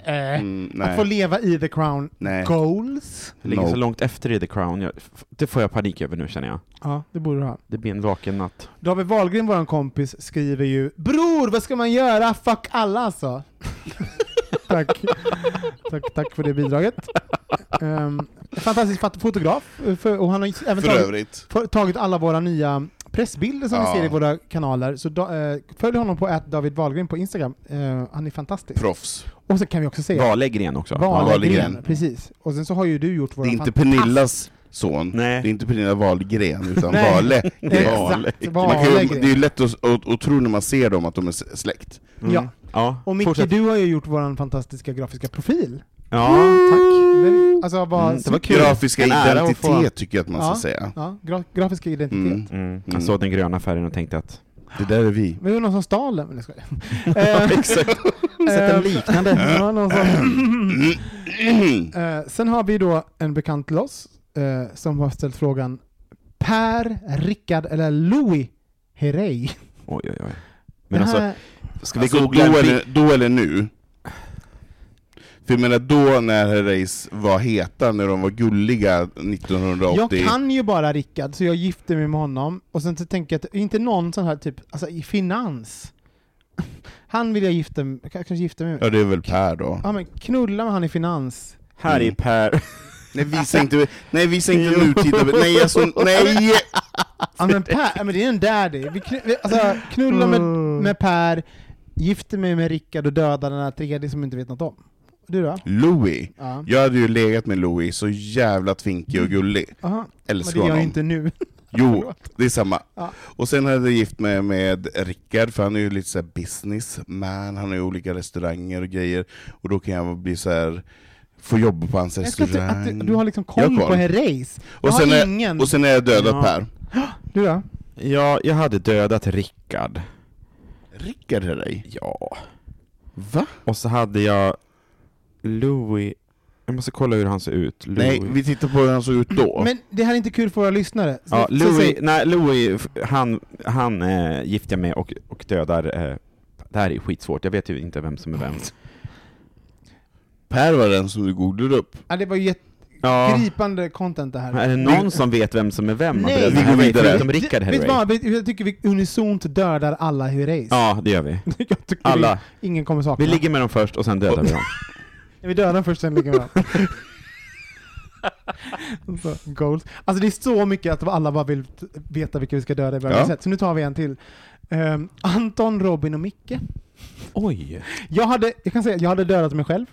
C: eh,
B: Mm,
C: att få
B: nej.
C: leva i The Crown
B: Nej.
C: goals.
D: jag ligger
B: No.
D: så långt efter i The Crown, jag, f- det får jag panik över nu känner jag.
C: Ja, det borde du ha.
D: Det blir en vaken natt.
C: David Wahlgren, vår kompis, skriver ju Bror, vad ska man göra? Fuck alla alltså. tack. tack. Tack för det bidraget. Um, fantastisk fat- fotograf, eh, för, och han har ju även
B: För
C: tagit,
B: övrigt.
C: för, tagit alla våra nya pressbilder som
B: Ja.
C: vi ser i våra kanaler. Så da, eh, följ honom på att David Wahlgren på Instagram. Eh, han är fantastisk.
B: Proffs.
C: Och så kan vi också säga
D: Valegren också.
C: Wahlgren,
B: Wahlgren.
C: precis. Och sen så har ju du gjort
B: Det
C: våra
B: är inte
C: fantas-
B: Pernillas son.
D: Nej.
B: Det är inte Pernilla Wahlgren, utan
C: Nej.
B: Wahle.
C: Exakt,
B: Man kan ju,
C: Wahlgren.
B: det är ju lätt att, att, att tro när man ser dem att de är s- släkt.
C: Ja.
D: Mm. Ja,
C: Och Micke,
D: fortsätt.
C: du har ju gjort vår fantastiska grafiska profil.
D: Ja, tack.
C: Den- Alltså, vad...
D: Mm, det var kul.
B: Grafiska
D: En ära att få-
B: identitet tycker jag att man
C: Ja.
B: ska säga.
C: Ja, gra grafiska identitet.
B: Mm.
D: Mm.
B: Mm.
D: Jag såg den gröna färgen och tänkte att
B: Det där är vi.
C: Men det var någon som stal den, eller ska jag
B: Exakt.
D: Sätt en liknande.
C: eh, Ja, någon som...
B: Mm.
C: Eh, sen har vi då en bekant till oss eh, som har ställt frågan Per, Rickard eller Louis Herrey?
D: Oj, oj, oj. Men
C: Det här-
D: alltså, ska vi
B: Alltså, då,
D: googla en bild?
B: eller, då eller nu? För jag menar då när Herreys var heta, när de var gulliga 1980.
C: jag kan ju bara Rickard, så jag gifte mig med honom. Och sen så tänker jag att, inte någon sån här typ, alltså i finans. Han vill jag gifta mig jag kanske gifta mig med.
B: Ja det är väl Per då.
C: Ja men knulla med han i finans.
D: Här är Per.
B: Nej visa inte, nej, visa inte nutida, nej alltså, nej!
C: Ja men Per, ja, men det är en daddy. Vi knu, vi, alltså, knulla med, med Per, gifter mig med Rickard och dödar den här tredje som jag inte vet något om. Du då?
B: Louis.
C: Ja.
B: Jag hade ju legat med Louis, så jävla tvinkig och gullig.
C: Aha. Men det
B: Älskar
C: gör jag
B: honom.
C: inte nu.
B: Jo, det är samma.
C: Ja.
B: Och sen hade jag gift mig med Rickard, för han är ju lite såhär businessman, han har ju olika restauranger och grejer, och då kan jag bli så här få jobba på hans
C: Jag ska
B: restaurang.
C: inte, att du, du har liksom
B: Jag
C: koll
B: har
C: på
B: koll.
C: Herreys. Jag
B: och, sen
C: har
B: är,
C: ingen.
B: och sen är jag dödat
D: Ja.
B: Per.
C: Du då?
D: Ja, jag hade dödat Rickard.
B: Rickard är dig?
D: Ja.
B: Va?
D: Och så hade jag Louis. Jag måste kolla hur han ser ut. Louis.
B: Nej, vi tittar på hur han såg ut då.
C: Men det här är inte kul för våra lyssnare. Så-
D: Ja,
C: så
D: Louis,
C: säg-
D: nej, Louis f- han, han eh, gifter jag med och, och dödar... Eh, det här är ju skitsvårt, jag vet ju inte vem som är vem.
B: Per var den som du googlade upp.
C: ja, det var ju
D: Ja,
C: jättegripande content det här.
D: är det någon som vet vem som är vem? av
C: Nej.
B: Vi
D: bröderna
B: går
D: Herrey,
B: vidare.
D: Förutom Rickard
C: Vet du
D: Herrey.
C: vad? Vet- Jag tycker vi unisont dödar alla Herreys.
D: Ja, det gör vi.
C: Jag tycker
D: Alla.
C: Vi, ingen kommer sakna.
D: Vi ligger med dem först och sen dödar vi dem.
C: vi dödar dem först, sen ligger vi med dem. Så, Goals. Alltså det är så mycket att alla bara vill t- veta vilka vi ska döda i varje
B: Ja.
C: sätt. Så nu tar vi en till. Ehm, Anton, Robin och Micke.
D: Oj!
C: Jag hade, jag kan säga, att jag hade dödat mig själv.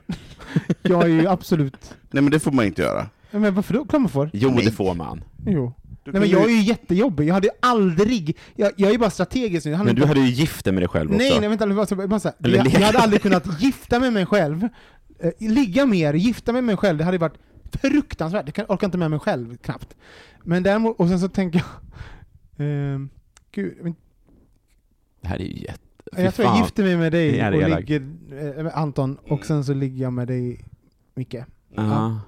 C: jag är ju absolut...
B: Nej men det får man inte göra.
C: Men varför då? Klart man får.
D: Jo,
B: Nej.
D: det får man.
C: Jo. Nej
B: kan
C: men
B: ju-
C: jag är ju jättejobbig, jag hade ju aldrig... Jag, jag är ju bara strategisk nu. Jag hade
D: Men
C: inte-
D: du hade ju gift dig med dig själv typ också.
C: Nej, nej vänta, jag bara, bara så här.
D: Eller
C: jag,
D: leka.
C: jag hade aldrig kunnat gifta mig med mig själv. Eh, Ligga mer, gifta mig med mig själv, det hade ju varit fruktansvärt. Jag kan- orkar inte med mig själv knappt. Men däremot, och sen så tänker jag... ehm, gud, men
D: Det här är ju jätte... Fy
C: jag tror jag
D: fan.
C: gifter mig med dig
D: Det är
C: och
D: elakt.
C: ligger eh, med Anton, och sen så ligger jag med dig Micke.
D: Mm. Ja.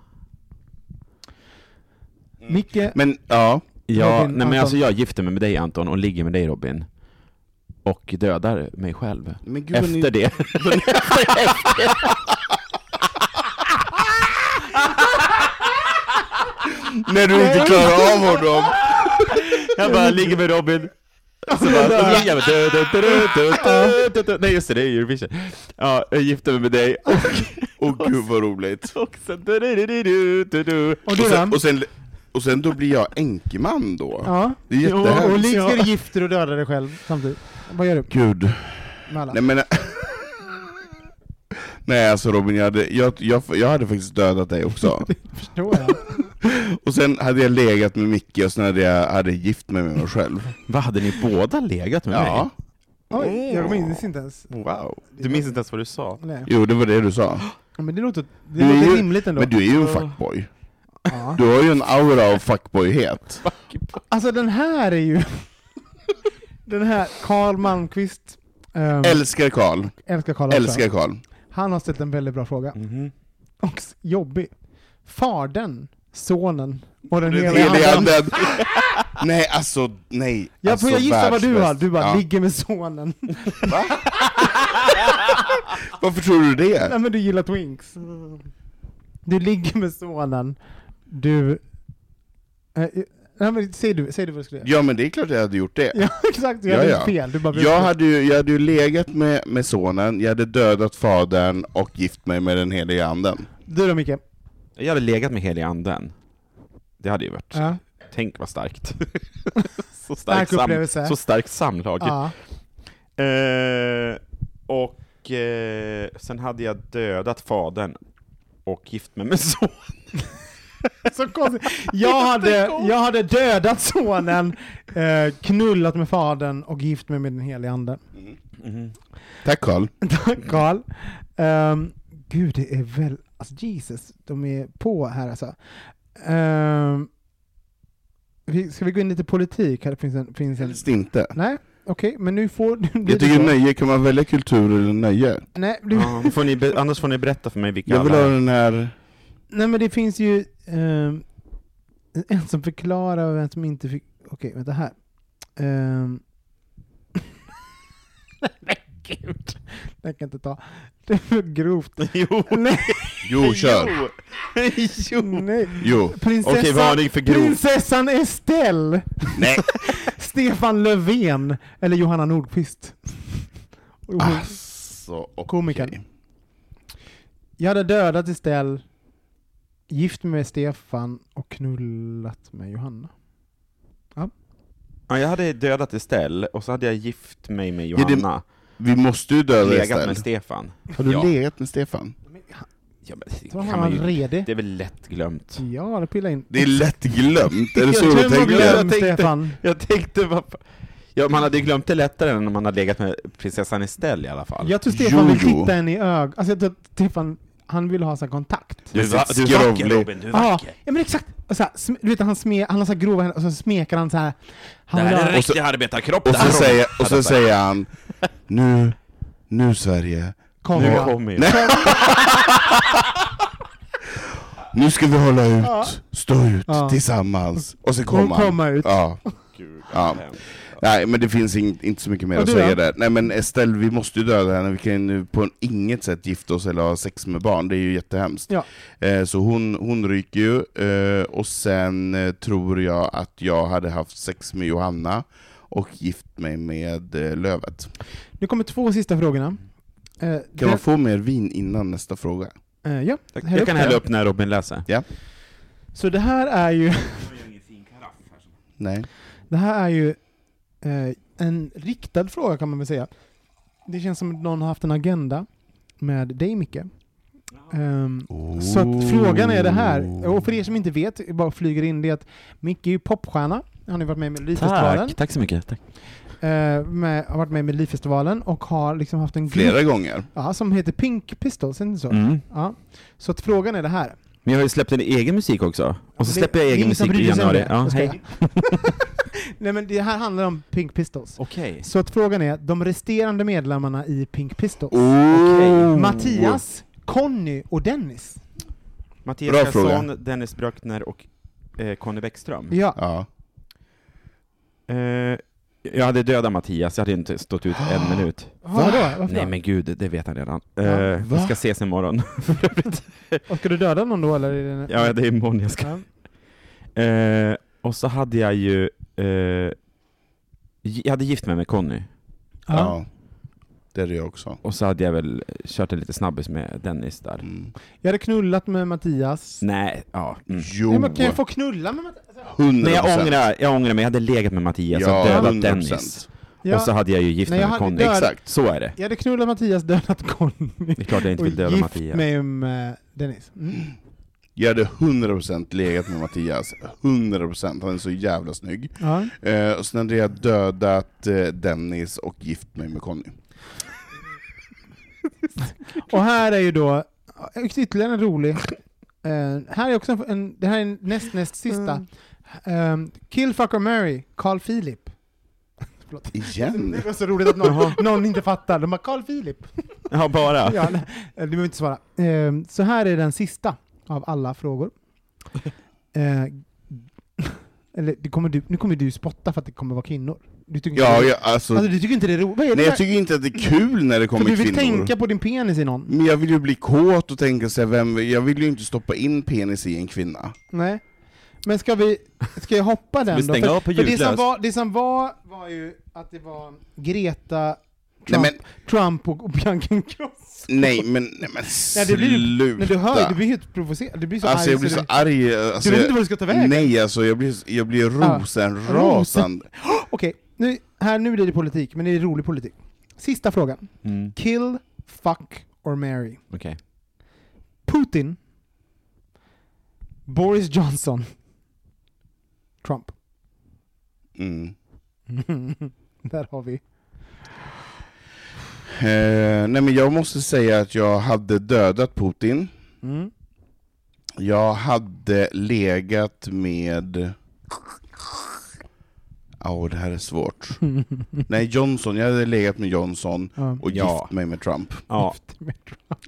C: Micke,
B: Men ja,
D: Ja,
C: Robin,
D: nej, men
C: Anton.
D: alltså jag gifter mig med dig Anton och ligger med dig Robin. Och dödar mig själv.
B: men gud vad
D: Efter
B: ni...
D: det.
B: När du inte klarar av honom!
D: jag bara ligger med Robin. Så alltså, bara, så ligger jag med- dö, dö, dö, dö, dö, dö, dö, dö. Nej just det, det är Eurovision. Ja, jag gifter mig med dig
B: Åh gud vad roligt.
D: och sen... du, du, du, du, du, du.
C: och
B: Och
C: du
B: sen,
C: då?
B: och sen, och sen då blir jag enkeman då.
C: Ja.
B: Det är
C: Och, och
B: jättehemskt.
C: ligger, gifter och dödar dig själv samtidigt. Vad gör du
B: Gud.
C: med alla?
B: Nej men... Nej alltså Robin, jag hade, jag, jag, jag hade faktiskt dödat dig också.
C: Förstår jag.
B: Och sen hade jag legat med Micke och sen hade jag hade gift mig med mig själv.
D: Vad hade ni båda legat med
B: Ja.
C: Oj, jag minns inte ens.
D: mig? Wow. Du minns inte ens vad du sa?
C: Nej.
B: Jo, det var det du sa.
C: Ja, Men det låter, det
B: Du är
C: låter
B: ju-
C: rimligt ändå.
B: Men du är ju en fuckboy.
C: Ja.
B: Du har ju en aura av fuckboyhet.
C: Alltså den här är ju... den här, Karl Malmqvist. ehm,
B: Älskar Karl.
C: älskar Karl också.
B: Älskar Karl.
C: Han har ställt en väldigt bra fråga. Och s- jobbig. Fadern, sonen och den
B: Den
C: heliga
B: heliga
C: anden.
B: anden. Nej, alltså nej.
C: Jag,
B: alltså,
C: jag gissar vad du
B: världsbäst.
C: har. Du bara,
B: Ja.
C: ligger med sonen.
B: Varför tror du det?
C: Nej men du gillar Twinks. Du ligger med sonen. Du... Eh, eh, nej men säg du, säg du vad du skulle göra.
B: Ja men det är klart jag hade gjort det.
C: Ja exakt, jag
B: Ja,
C: hade
B: ja.
C: fel. Du bara blev-
B: Jag hade ju, jag hade ju legat med, med sonen, jag hade dödat fadern och gift mig med den heliga anden.
C: Du då Micke?
D: Jag hade legat med heliga anden. Det hade ju varit...
C: Ja.
D: Tänk vad starkt. så,
C: Stark
D: stark sam,
C: upplevelse.
D: så starkt samlag.
C: Ja.
D: Eh, och eh, sen hade jag dödat fadern och gift mig med sonen.
C: Så konstigt. Jag hade, jag hade dödat sonen, eh, knullat med fadern och gift mig med den helige anden.
D: Mm. Mhm.
B: Tack Karl.
C: Tack Carl. Ehm, gud, det är väl... Alltså Jesus, de är på här alltså. Ehm, vi, ska vi gå in lite politik? Här finns en... Finns en
B: Helst inte.
C: nej, okej, men nu får... nu blir
B: Jag
C: det
B: Mm. tycker
C: så.
B: nöje, kan man välja kultur eller nöje?
C: Nej, du,
D: Ja, då får ni be- annars får ni berätta för mig vilka
B: Jag vill
D: alla
B: ha
D: är.
B: den här...
C: nej, men det finns ju ehm, en som förklarar och en som inte fick... Okej, vänta här. Ehm. nej, gud. Det här kan jag inte ta. Det är för grovt.
D: Jo!
C: Nej,
B: Jo, kör!
D: jo!
C: nej.
B: Jo.
C: Prinsessan,
D: Okej, varning för grov.
C: prinsessan Estelle!
B: Nej.
C: Stefan Löfven! Eller Johanna Nordqvist. Och
B: Ah.
C: hon-
B: Alltså, okej.
C: Komikern. Jag hade dödat Estelle, gift mig med Stefan och knullat med Johanna.
D: Ja, jag hade dödat Estelle, och så hade jag gift mig med
B: det-
D: Johanna,
B: Vi måste ju döda
D: legat med
B: Estelle.
D: Stefan.
B: Har du
D: Ja.
B: legat med Stefan?
D: Ja, men, det
C: Så var
D: kan man
C: han
D: ju,
C: redig.
D: det är väl lätt glömt.
C: Ja, det pillar in.
B: Det är lätt glömt, är det så
C: Jag
B: du
C: tror man
B: tänker?
D: glömt.
C: glömmer
D: Jag tänkte-
C: Stefan.
D: Jag tänkte vad fa- Ja, man hade ju glömt det lättare än om man hade legat med prinsessan Estelle i alla fall.
C: Jag tror Stefan vill
B: Jojo.
C: titta en i ögonen. Alltså jag tror att Stefan, han vill ha sån kontakt.
D: Du, är va- du är vacker
B: Skrovlig.
D: Robin, du är
C: Ja,
D: vacker.
C: ja men exakt. Och så här, sm- du vet han, sme, han har så här grova händer och så smeker han så här.
D: Det
C: Han
D: här
C: vill
D: är
C: ha-
D: en riktig arbetarkropp
B: Och
D: det här,
B: så,
D: Robin.
B: säger, och
D: Hade
B: så
D: jag sagt.
B: säger han Nu, nu Sverige,
C: Kom,
D: Nu
C: ja.
D: kommer jag.
B: nu ska vi hålla ut, stå ut
C: Ja.
B: tillsammans. Och så
C: Hon
B: kommer han.
C: kommer ut.
B: Ja. Ja. Nej men det finns in, inte så mycket mer
C: Och
B: att
C: du
B: säga
C: då?
B: där. Nej men Estelle, vi måste ju döda henne, vi kan ju på inget sätt gifta oss eller ha sex med barn, det är ju jättehemskt.
C: Ja.
B: Eh, så hon, hon ryker ju, eh, och sen eh, tror jag att jag hade haft sex med Johanna och gift mig med eh, Lövet.
C: Nu kommer två sista frågorna. Eh,
B: Kan
C: den-
B: man få mer vin innan nästa fråga?
C: eh, ja,
D: Jag,
C: häll upp
D: jag kan
C: det.
D: hälla upp när Robin läser.
C: Så det här är ju,
B: Nej.
C: det här är ju eh, en riktad fråga kan man väl säga. Det känns som att någon har haft en agenda med dig Micke. Ehm, Så att frågan är det här, och för er som inte vet, jag bara flyger in det att Micke är ju popstjärna, han har ju varit med i Melodifestivalen,
D: Tack, tack så mycket. Tack.
C: eh, med, har varit med i Melodifestivalen och har liksom haft en grupp
B: Flera gånger.
C: ja, som heter Pink Pistols, är det inte så?
D: Mm.
C: Ja. Så att frågan är det här.
D: Men jag har ju släppt en egen musik också, och så
C: Det-
D: släpper jag
C: det är
D: egen
C: ingen som
D: musik i
C: bryr sig om
D: januari.
C: det.
D: Ja,
C: Jag
D: hej.
C: skojar. Nej men det här handlar om Pink Pistols.
D: Okej.
C: Så att frågan är, de resterande medlemmarna i Pink Pistols?
D: Oh.
C: Mattias, Conny och Dennis?
D: Mm. Mattias
B: Bra
D: Karlsson, Dennis Bröckner och eh, Conny Bäckström.
C: Ja.
B: Ja.
D: Eh, jag hade dödat Mattias, jag hade inte stått ut en minut.
C: Va? Vadå? Varför
D: Nej
C: då?
D: men gud, det vet han redan. Eh,
C: Ja,
D: vi ska ses imorgon.
C: Och ska du döda någon då eller? Är det...
D: ja, det är imorgon jag ska.
C: Ja.
D: Eh, och så hade jag ju... Eh, gi- jag hade gift mig med Conny,
C: Ja.
B: ja. Det är det jag också.
D: och så hade jag väl kört en lite snabbis med Dennis där.
B: Mm.
C: Jag hade knullat med Mattias.
D: Nej, ja. Mm.
B: Jo,
C: Nej, men kan jag få knulla med Mattias?
B: hundra
D: Nej jag
B: procent.
D: ångrar, jag ångrar mig, jag hade legat med Mattias
B: Ja,
D: och dödat
B: 100%.
D: Dennis.
C: Ja.
D: Och så hade jag ju gift
C: Nej,
D: mig
C: jag
D: med
C: hade
D: Conny.
C: dödat-
B: Exakt.
D: Så är det.
C: Jag hade knullat Mattias, dödat Conny.
D: Det är klart jag inte vill döda
C: gift
D: Mattias.
C: mig med Dennis. Mm.
B: Jag hade hundra procent legat med Mattias. Hundra procent. Han är så jävla snygg.
C: Ja.
B: Eh, och sen hade jag dödat eh, Dennis och gift mig med Conny.
C: Och här är ju då, ytterligare en rolig. Eh, här är också en, en, det här är en näst näst sista. Eh, kill, fuck or marry, Carl Philip. Förlåt.
B: Igen?
C: Alltså, Det var så roligt att någon, någon inte fattar. De bara Carl Philip.
D: Ja,
B: Ah.
D: bara.
C: Ja, nej, du behöver inte svara. Eh, så här är den sista av alla frågor. Eh, eller det kommer du, nu kommer du spotta för att det kommer vara kvinnor. Du tycker
B: Ja,
C: inte,
B: jag, alltså,
C: alltså, du tycker inte det är roligt? Vad är det
B: nej, jag
C: där?
B: tycker inte att det är kul när det
C: För du
B: kommer
C: vill
B: kvinnor.
C: tänka på din penis i någon?
B: Men jag vill ju bli kåt och tänka sig vem, jag vill ju inte stoppa in penis i en kvinna.
C: Nej. Men ska vi, ska jag hoppa den
D: vi
C: då?
D: stänga
C: För-
D: av på
C: för det som,
D: ljudlös?
C: var, det som var, var ju att det var Greta,
B: Nej
C: Trump,
B: men,
C: Trump och, och Bianca Cross.
B: nej men, nej men
C: Nej, det blir ju-
B: sluta!
C: Nej, du hör ju, du blir helt provocerad. Du blir så
B: alltså
C: arg
B: jag blir så
C: du,
B: arg, alltså,
C: du vet
B: jag-
C: inte vad du ska ta vägen.
B: Nej alltså jag blir, jag blir rosenrasande.
C: Okej, nu, här, nu blir det politik, men det är rolig politik. Sista frågan.
D: Mm,
C: Kill, fuck or marry?
D: Okej.
C: Putin, Boris Johnson. Trump.
B: Mm.
C: Där har vi.
B: Eh, nej men jag måste säga att jag hade dödat Putin.
C: Mm.
B: Jag hade legat med... Åh, oh, det här är svårt. Nej, Johnson. Jag hade legat med Johnson
C: Ja.
B: och
D: Ja.
B: gift mig med Trump.
D: Ja,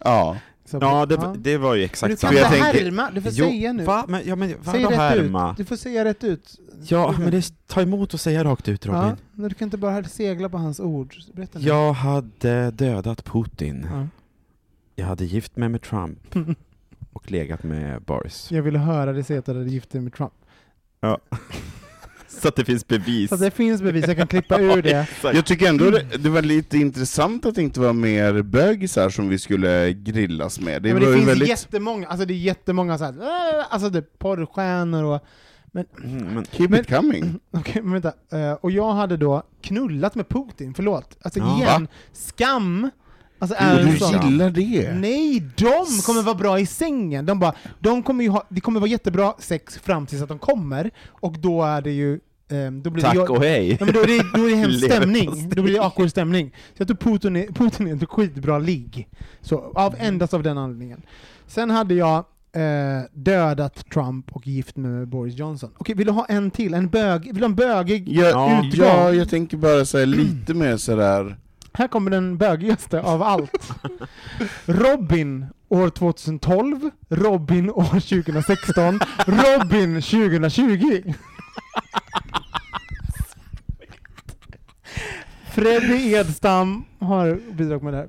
B: Ja.
C: Så-
D: ja
C: Ja.
D: det, det var ju
C: Men du
D: exakt
C: får
B: För
C: inte
B: jag tänker-
C: härma, du får
D: Jo,
C: säga nu.
D: Va? Men, ja, men
C: Säg
D: vadå
C: rätt
D: härma?
C: ut. Du får säga rätt ut.
D: Ja, men det är, ta emot och säga rakt ut Robin.
C: Ja, men du kan inte bara segla på hans ord. Berätta nu.
D: Jag hade dödat Putin.
C: Ja.
D: Jag hade gift mig med Trump och legat med Boris.
C: Jag ville höra dig säga att du hade gift dig med Trump.
D: Så att det finns bevis.
C: Så att det finns bevis, jag kan klippa ur det.
B: Jag tycker ändå
C: Mm.
B: det, det var lite intressant att det inte var mer bögisar som vi skulle grillas med. Det
C: Det, men
B: var
C: det
B: ju
C: finns
B: väldigt...
C: jättemånga, alltså det är jättemånga så här, "Äh", alltså typ porrstjärnor och...
D: Mm, men,
B: Keep
C: Men-
B: it coming.
C: Okej, men vänta. Eh, och jag hade då knullat med Putin, förlåt. Alltså
D: Ja.
C: igen, skam! Alltså
B: Och
C: är
B: du
C: en sån...
B: gillar det?
C: Nej, de kommer vara bra i sängen! De bara, de kommer ju ha, det kommer vara jättebra sex fram tills att de kommer, och då är det ju... ehm, då blir det,
D: tack
C: jag,
D: och hej.
C: Ja, men då är det, då är det hemsk
D: Leverpastej.
C: stämning. Då blir det awkward stämning. Så jag tror Putin är, Putin är en skitbra ligg. Så, av, endast av den anledningen. Sen hade jag eh, dödat Trump och gift mig med Boris Johnson. Okej, vill du ha en till? En bög? Vill du ha en bögig?
B: Jag,
D: Ja.
B: utgång- ja, jag tänker bara säga lite mer sådär...
C: Här kommer den bögigaste av allt. Robin år 2012, Robin år 2016, Robin 2020. Freddy Edstam har bidrag med det här.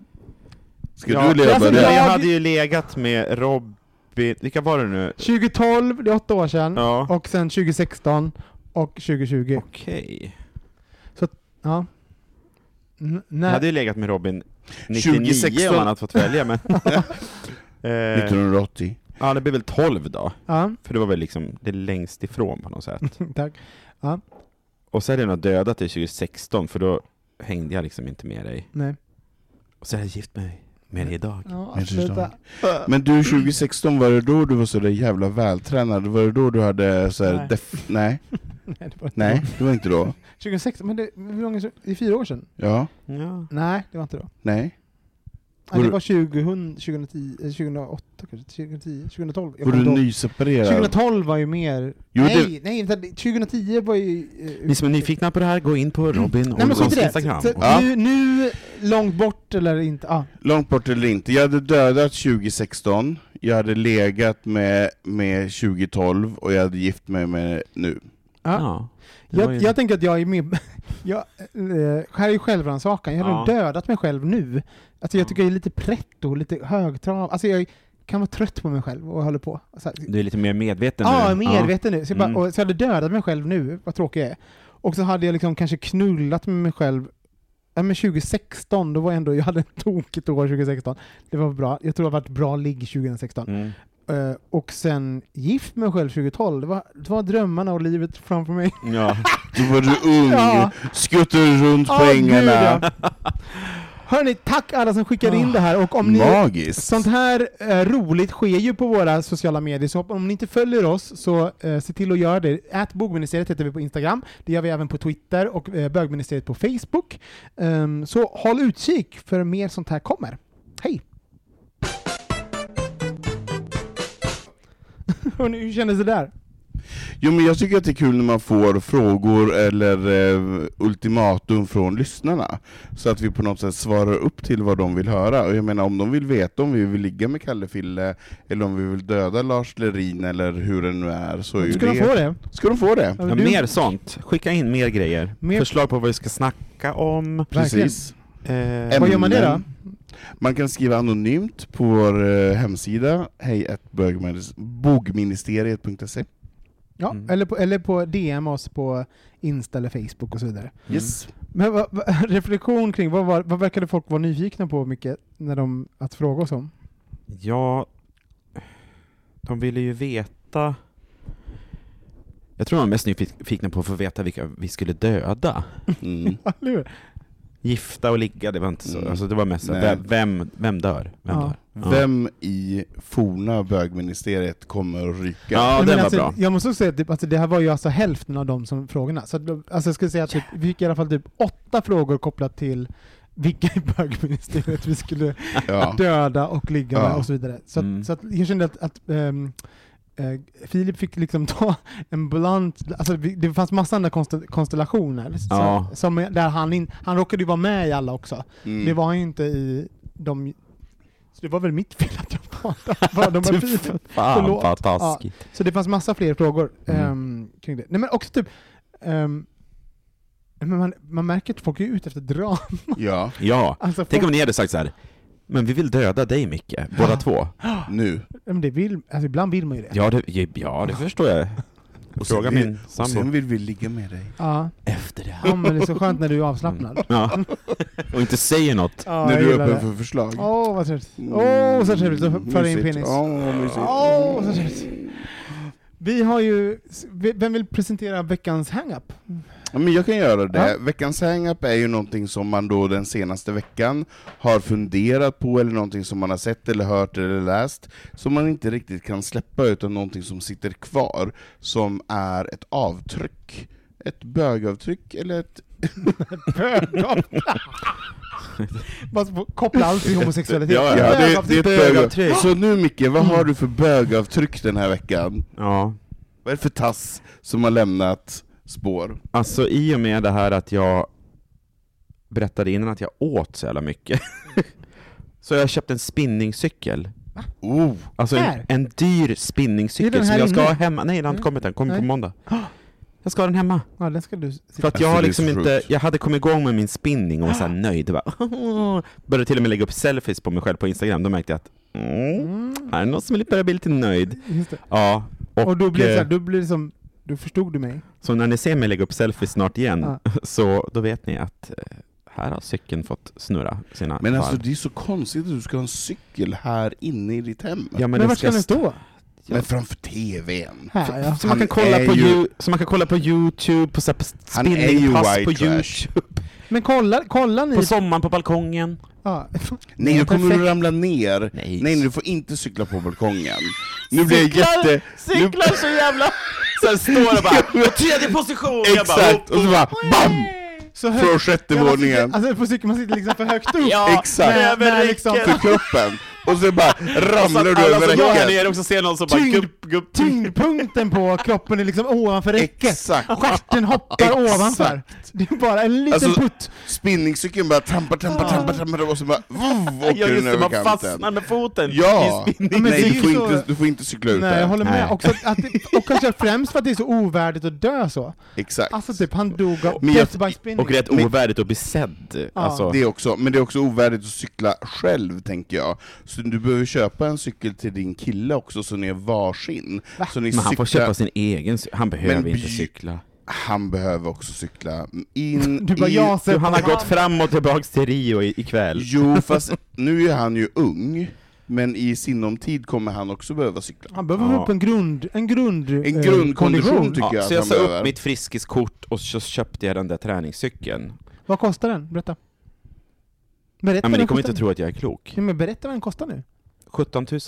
B: Ska
D: Ja,
B: du leva
C: alltså,
B: med det?
D: Jag,
C: jag-
D: hade ju legat med Robin, vilka var det nu?
C: 2012, det är åtta år sedan,
D: Ja.
C: och sen 2016 och 2020.
D: Okej.
C: Ja. N-
D: Jag
C: när,
D: hade ju legat med Robin 99 om
B: 2016.
D: han hade fått välja, men... eh,
B: 1980.
D: ja, det blir väl 12 då.
C: ja,
D: För det var väl liksom det längst ifrån på något sätt.
C: tack.
D: Och så hade jag nog dödat dig 2016, för då hängde jag liksom inte med dig.
C: Nej.
D: Och så hade jag gift mig med dig idag.
C: Ja,
B: Jag förstår.
C: sluta.
B: Men du 2016, var det då du var så där jävla vältränad? Var det då du hade såhär...
C: Nej.
B: Nej. Def- nej,
C: Nej, det var
B: nej,
C: inte
B: det var inte då.
C: 2016, men det, hur långt, det är fyra år sedan.
B: Ja,
D: Ja.
C: Nej, det var inte då.
B: nej.
C: Nej,
B: Var
C: det
B: du-
C: var 2000, 2010, eh, 2008 kanske, 2010, 2012. Jag
B: Var
C: kommer
B: du
C: inte ihåg.
B: nyseparerad?
C: 2012 var ju mer...
B: Jo,
C: nej,
B: det-
C: nej, vänta, 2010 var ju... eh,
D: Ni som är nyfikna på det här, gå in på Robin
C: Nej men skit
D: Olssons
C: i det!
D: Instagram.
C: Så,
B: Ja.
C: nu, nu, långt bort eller inte, ah,
B: Långt bort eller inte. Jag hade dödat 2016, jag hade legat med, med 2012 och jag hade gift mig med nu.
D: Ja. Det var
C: jag,
D: ju-
C: jag tänker att jag är med... jag, eh, här är ju självrannsakan, jag har nog
D: Ja.
C: dödat mig själv nu. Alltså jag
D: Ja.
C: tycker jag är lite pretto, lite högtrav. Alltså jag kan vara trött på mig själv och håller på. Så här,
D: Du är lite mer medveten
C: Ja,
D: nu.
C: medveten nu. Så jag, bara,
D: Mm.
C: och, så jag hade dödat mig själv nu, vad tråkig jag är. Och så hade jag liksom kanske knullat med mig själv Ja, men 2016, då var jag ändå, jag hade ett tokigt år 2016. Det var bra. Jag tror det har varit bra ligg 2016.
D: Ja. Mm.
C: Eh, och sen gift med mig själv 2012. Det var, det var drömmarna och livet framför mig.
D: ja.
B: Då var du ung,
C: Ja.
B: skuttade runt på
C: Åh, gud,
B: ängarna.
C: ja. Hörni, tack alla som
D: Ah.
C: skickade in det här. Och om ni,
B: Magiskt!
C: Sånt här eh, roligt sker ju på våra sociala medier, så om ni inte följer oss så eh, se till att göra det. Ät bogministeriet heter vi på Instagram, det gör vi även på Twitter och eh, bögministeriet på Facebook. Ehm, så håll utkik för mer sånt här kommer. Hej! Hörni, hur kändes det där?
B: Jo men jag tycker att det är kul när man får frågor eller eh, ultimatum från lyssnarna. Så att vi på något sätt svarar upp till vad de vill höra. Och jag menar om de vill veta om vi vill ligga med Kalle Fille, eller om vi vill döda Lars Lerin eller hur det nu är, så är ju
C: Ska de
B: det...
C: få det?
B: Ska de få det?
D: Ja,
C: Du-
D: mer sånt. Skicka in mer grejer.
C: Mer-
D: Förslag på vad vi ska snacka om.
C: Verkligen.
B: Precis.
D: Eh,
B: Ämnen.
C: Vad gör man det då?
B: Man kan skriva anonymt på vår eh, hemsida, hejatbogministeriet.se.
C: Ja,
D: Mm.
C: eller, på, eller på DM oss på Insta eller Facebook och så vidare.
B: Yes.
C: Men vad, vad, reflektion kring, vad, var, vad verkade folk vara nyfikna på mycket när de, att fråga oss om?
D: Ja, de ville ju veta... Jag tror de var mest nyfikna på att få veta vilka vi skulle döda.
B: Mm.
C: Eller hur?
D: Gifta och ligga, det var inte så.
B: Mm.
D: Alltså det var mest så här,
B: Nej.
D: vem- vem, vem dör? Vem
C: Ja.
D: dör? Ja.
B: Vem i forna bögministeriet kommer att ryka?
D: Ja,
C: Nej, men
D: den var
C: alltså,
D: bra.
C: Jag måste också säga att typ, alltså, det här var ju alltså hälften av de som, frågorna. Så att, alltså, jag skulle säga att typ, vi fick i alla fall typ åtta frågor kopplat till vilka i bögministeriet vi skulle
B: Ja.
C: döda och ligga med
B: Ja.
C: och så vidare. Så, att,
D: Mm.
C: så att jag kände att, att ehm, eh, Filip fick liksom ta en blunt, alltså vi- det fanns massa andra konst- konstellationer. så-
D: Ja.
C: Som, där han, in, han råkade ju vara med i alla också.
B: Mm.
C: Det var han ju inte i de... Så det var väl mitt fel att jag valde de här
D: Du,
B: Typ.
C: fyra.
D: Fan
C: Förlåt.
D: vad taskigt.
C: Så det fanns massa fler frågor
D: Mm.
C: ehm, kring det. Nej men också typ... ehm, men man, man märker att folk är ute efter drama.
B: Ja,
D: Ja.
C: Alltså,
D: Tänk
C: folk,
D: om ni hade sagt så här. men vi vill döda dig Micke, båda två.
B: nu.
C: men det vill, alltså, ibland vill man ju det.
D: Ja det, ja, det förstår jag.
B: Och sen
D: Fråga
B: vill-
D: min
B: Och
D: sambo.
B: sen vill vi ligga med dig.
C: Ja.
D: Efter det
C: ja, men det är så skönt när du är avslappnad.
D: Ja. Och inte säger något.
C: Ja,
B: Mm. När
C: jag
B: du är
C: gillar
B: öppen
C: det.
B: för förslag.
C: Åh, vad trevligt. Åh,
B: Mm,
C: så trevligt att föra in
B: mysigt.
C: penis.
B: Ja,
C: Åh,
B: mysigt.
C: så trevligt. Vi har ju... Vem vill presentera veckans hang-up?
B: Ja, men jag kan göra det. Veckans hang-up är ju någonting som man då den senaste veckan har funderat på, eller någonting som man har sett eller hört eller läst, som man inte riktigt kan släppa, utan någonting som sitter kvar, som är ett avtryck. Ett bögavtryck, eller ett...
C: Bögavtryck. Bara så- koppla allt till homosexualitet.
B: Ja,
D: ja,
B: det, det är
C: Bögavtryck. Mm.
B: ett bögavtryck. Så nu Micke, vad har du för bögavtryck den här veckan?
D: Ja.
B: Vad är det för tass som har lämnat spår?
D: Alltså i och med det här att jag berättade innan att jag åt så jävla mycket. så jag har köpt en spinningcykel.
B: Oh,
D: Alltså en,
C: Här?
D: en dyr
C: Är den
D: spinningcykel
C: här
D: som jag ska
C: inne?
D: ha hemma. Nej, den har inte kommit än. Kommer på
C: Nej.
D: måndag. Jag ska ha den hemma.
C: Ja, den ska du...
D: För att
B: Alltså,
D: jag
B: det
D: har
B: är
D: liksom
B: så
D: inte,
B: sjukt.
D: jag hade kommit igång med min spinning och var såhär nöjd. Jag Bara, började till och med lägga upp selfies på mig själv på Instagram. Då märkte jag att, mm,
C: Mm,
D: här är det någon som börjar bli lite nöjd.
C: just det.
D: Ja, och,
C: Och, då blir det
D: eh,
C: så här, då blir det som... Då förstod du mig.
D: så när ni ser mig lägga upp selfies snart igen,
C: Ja.
D: så då vet ni att eh, här har cykeln fått snurra sina
B: men
D: varv.
B: alltså det är så konstigt att du ska ha en cykel här inne i ditt hem.
D: ja,
C: Men, vart ska den stå?
B: Men framför TVn.
C: Här, ja.
D: Så man, kan
B: Han
D: kolla
B: är
D: på
B: ju-
D: ju... så man kan kolla på Youtube, på så här på
B: Han är ju
D: spinningpass
B: white
D: på
B: trash.
D: Youtube,
C: Men kolla, kolla ni...
D: på sommaren på balkongen.
C: ja.
B: Nej, nu kommer
C: Perfekt.
B: du ramla ner.
D: Nej.
B: Nej, du får inte cykla på balkongen. Nu blir jag jätte...
D: Cyklar så jävla... Sen står det bara tredje position!
B: Nu...
D: Jag bara, oh,
B: Exakt! Och så bara BAM!
C: Så högt.
B: Från sjätte
C: Ja, man sitter-
B: våningen.
C: Alltså på cykeln, man sitter liksom för högt upp.
D: Ja,
B: Exakt.
C: När- när liksom-
B: Till kroppen. Och så bara ramlar
D: Ramlar
B: du över räcket.
D: nere också ser någon som
C: Tyngd-
D: gupp.
C: Tyngdpunkten på kroppen är liksom ovanför räcket.
B: Exakt.
C: Stjärten hoppar
B: Exakt.
C: ovanför. Det är bara en liten
B: Alltså,
C: putt.
B: Spinningcykeln bara trampar, trampar, trampar, trampar och så bara vuv, åker
D: Ja
B: den
D: just det,
B: över
D: man
B: kanten.
D: fastnar med foten
B: Ja!
D: i spinning.
C: men det är
B: Nej, du
C: ju
B: får,
C: så-
B: inte, du får inte cykla ut
C: Nej, jag
B: där.
C: håller med.
D: Nej.
C: Också att, det- och kanske främst för att det är så ovärdigt att dö så.
B: Exakt.
C: Alltså typ, han dog av
B: Men jag-
C: death by spinning.
D: Och rätt
B: Men-
D: ovärdigt att bli sedd.
C: Ja.
D: Alltså,
B: Det också, men det är också ovärdigt att cykla själv, tänker jag. Så du behöver köpa en cykel till din kille också, så ni är varsin. Så ni
D: men han får
B: cyklar-
D: köpa sin egen cy- han behöver
B: Men
D: inte
B: bj-
D: cykla.
B: Han behöver också cykla in
C: Du bara,
B: i...
C: jag ser
D: Du, han Alltså, har
C: på-
D: gått fram och tillbaks till Rio i- ikväll.
B: Jo, fast nu är han ju ung, men i sinom tid kommer han också behöva cykla.
C: Han behöver
D: Ja. typ.
C: upp en grund... En grund...
B: En
C: eh,
B: grundkondition
C: kondition.
B: tycker jag
D: så
B: att
D: jag
B: han
D: sa
B: behöver.
D: upp mitt Friskiskort och så köpte jag den där träningscykeln.
C: Vad kostar den? Berätta. Berätta
D: Ja, men
C: vad
D: ni
C: den
D: kommer
C: kostar nu.
D: inte tro att jag är klok.
C: Ja, men berätta vad den kostar nu.
D: 17 000.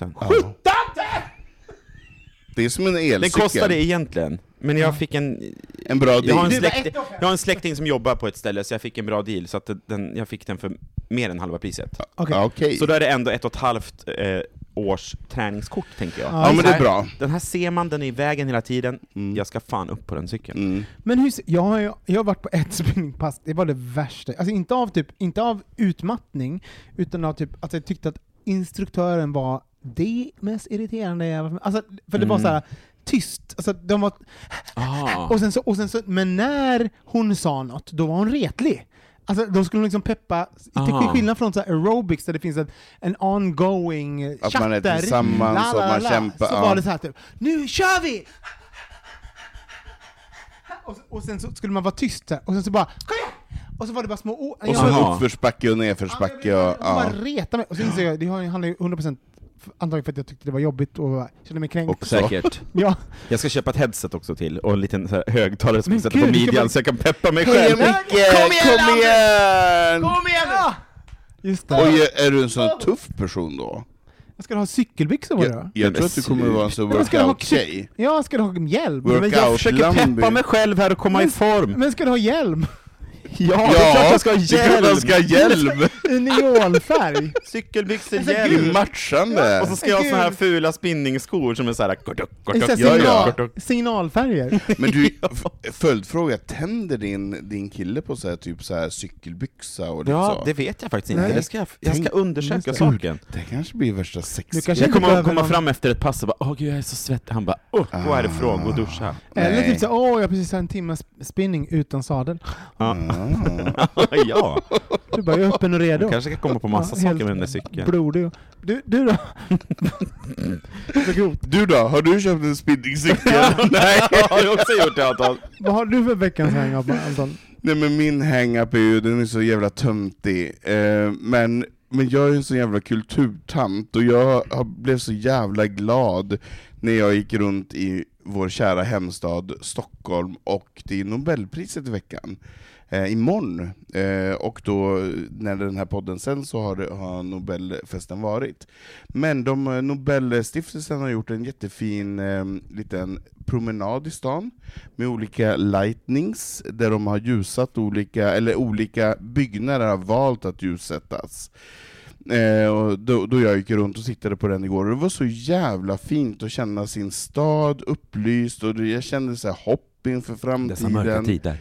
B: Det är som en elcykel.
D: Den kostade egentligen, men jag fick en...
B: En bra
D: Jag har en,
B: deal.
D: släkting, jag har en släkting som jobbar på ett ställe, så jag fick en bra deal, så att den, jag fick den för mer än halva priset.
C: Okej.
B: Ja, Okej.
D: Så då är det ändå ett och ett halvt eh, års träningskort, tänker jag.
B: Ja, men det är bra.
D: Den här ser man, den är i vägen hela tiden. Jag ska fan upp på den cykeln.
B: Mm.
C: Men hur, jag, har, ju- jag har varit på ett spinningpass, det var det värsta. Alltså inte av, typ, inte av utmattning, utan av typ att jag tyckte att instruktören var det mest irriterande jag varit med- Alltså, för det var så här tyst. Alltså, de var,
D: Mm. Ah.
C: och sen så, och sen så, men när hon sa något, då var hon retlig. Alltså, då skulle hon liksom peppa,
D: Aha.
C: till skillnad från så här aerobics där det finns en, en ongoing eh,
B: Att
C: chatt
B: man är
C: där.
B: tillsammans
C: La,
B: och
C: la,
B: man
C: la.
B: kämpar,
C: Så
B: ja.
C: var det så här typ, nu kör vi! Och, och sen så skulle man vara tyst där, och sen så bara Kom igen! Och så var det bara små ord.
B: Och så
D: Jaha.
B: uppförsbacke och
C: jag,
B: nedförsbacke
C: jag,
B: och...
C: jag bara
B: Ja.
C: reta mig. Och så insåg jag, det har ju- handlar ju 100% f- antagligen för att jag tyckte det var jobbigt och kände mig kränkt.
B: Och-
D: Säkert.
C: Ja,
D: Jag ska köpa ett headset också till, och en liten så här högtalare som
C: Men
D: jag sätter på
C: gud,
D: midjan
C: vilken man-
D: så jag kan peppa mig
B: Heja
D: själv.
B: Micke! Kom igen! Kom igen!
C: Kom igen nu! Just det.
B: Oj, eh. är du en sån tuff person då?
C: Jag ska ha cykelbyxor var det va?
B: Jag, jag
D: Men
B: tror att du kommer vara en sån
C: Jag ska ha
B: workout-tjej.
C: Ja, ska du ha hjälm?
B: Work-
D: Men jag försöker
B: Outlandby.
D: peppa mig själv här och komma i
C: Men-
D: form.
C: Men ska du ha hjälm?
D: Ja, det är klart jag ska ha
B: det är klart
D: hjälm!
B: jag ska ha hjälm!
C: I neonfärg?
D: Cykelbyxor,
B: Det
D: hjälm!
B: är matchande!
D: Och så ska jag ha
C: Gud.
D: såna här fula spinningskor som är såhär...
C: I så här
B: Ja, ja.
C: signal, signalfärger?
B: Men du, f- följdfråga, tänder din, din kille på så här, typ så här cykelbyxa och lite
D: Ja,
B: så?
D: det vet jag faktiskt inte.
C: Nej.
D: Det ska jag, jag ska
B: Tänk-
C: Just
D: undersöka
C: det.
D: saken.
B: Det kanske blir värsta sex...
C: Du kanske
D: Jag
C: inte
D: kommer att
C: behöver
D: komma
C: någon-
D: fram efter ett pass och bara åh gud jag är så svettig. Han bara åh, gå härifrån, gå och duscha.
C: Eller
B: Nej.
C: typ såhär, åh jag har precis har en timmes spinning utan sadel.
B: Ah.
D: Mm. ja,
C: Du bara, jag är öppen och redo.
D: jag kanske kan komma på massa
C: Ja,
D: saker
C: helt
D: med den där cykeln.
C: Blodig och... Du, du då? Så grovt.
B: Du då, har du köpt en spinningcykel?
D: Nej, jag har ju också gjort det Anton.
C: Vad har du för veckans hang-up Anton?
B: Nej men min hang-up är ju, den är så jävla töntig, eh, men, men jag är en så jävla kulturtant, och jag har- blev så jävla glad när jag gick runt i vår kära hemstad Stockholm, och det är Nobelpriset i veckan, eh, imorgon. Eh, och då, när den här podden sen så har, det, har Nobelfesten varit. Men de, eh, Nobelstiftelsen har gjort en jättefin eh, liten promenad i stan, med olika lightnings, där de har ljusat olika, eller olika byggnader har valt att ljussättas. Eh, och då, då jag gick runt och tittade på den igår, och det var så jävla fint att känna sin stad upplyst, och det, jag kände så här hopp inför
D: I dessa mörka
B: framtiden.
D: tider.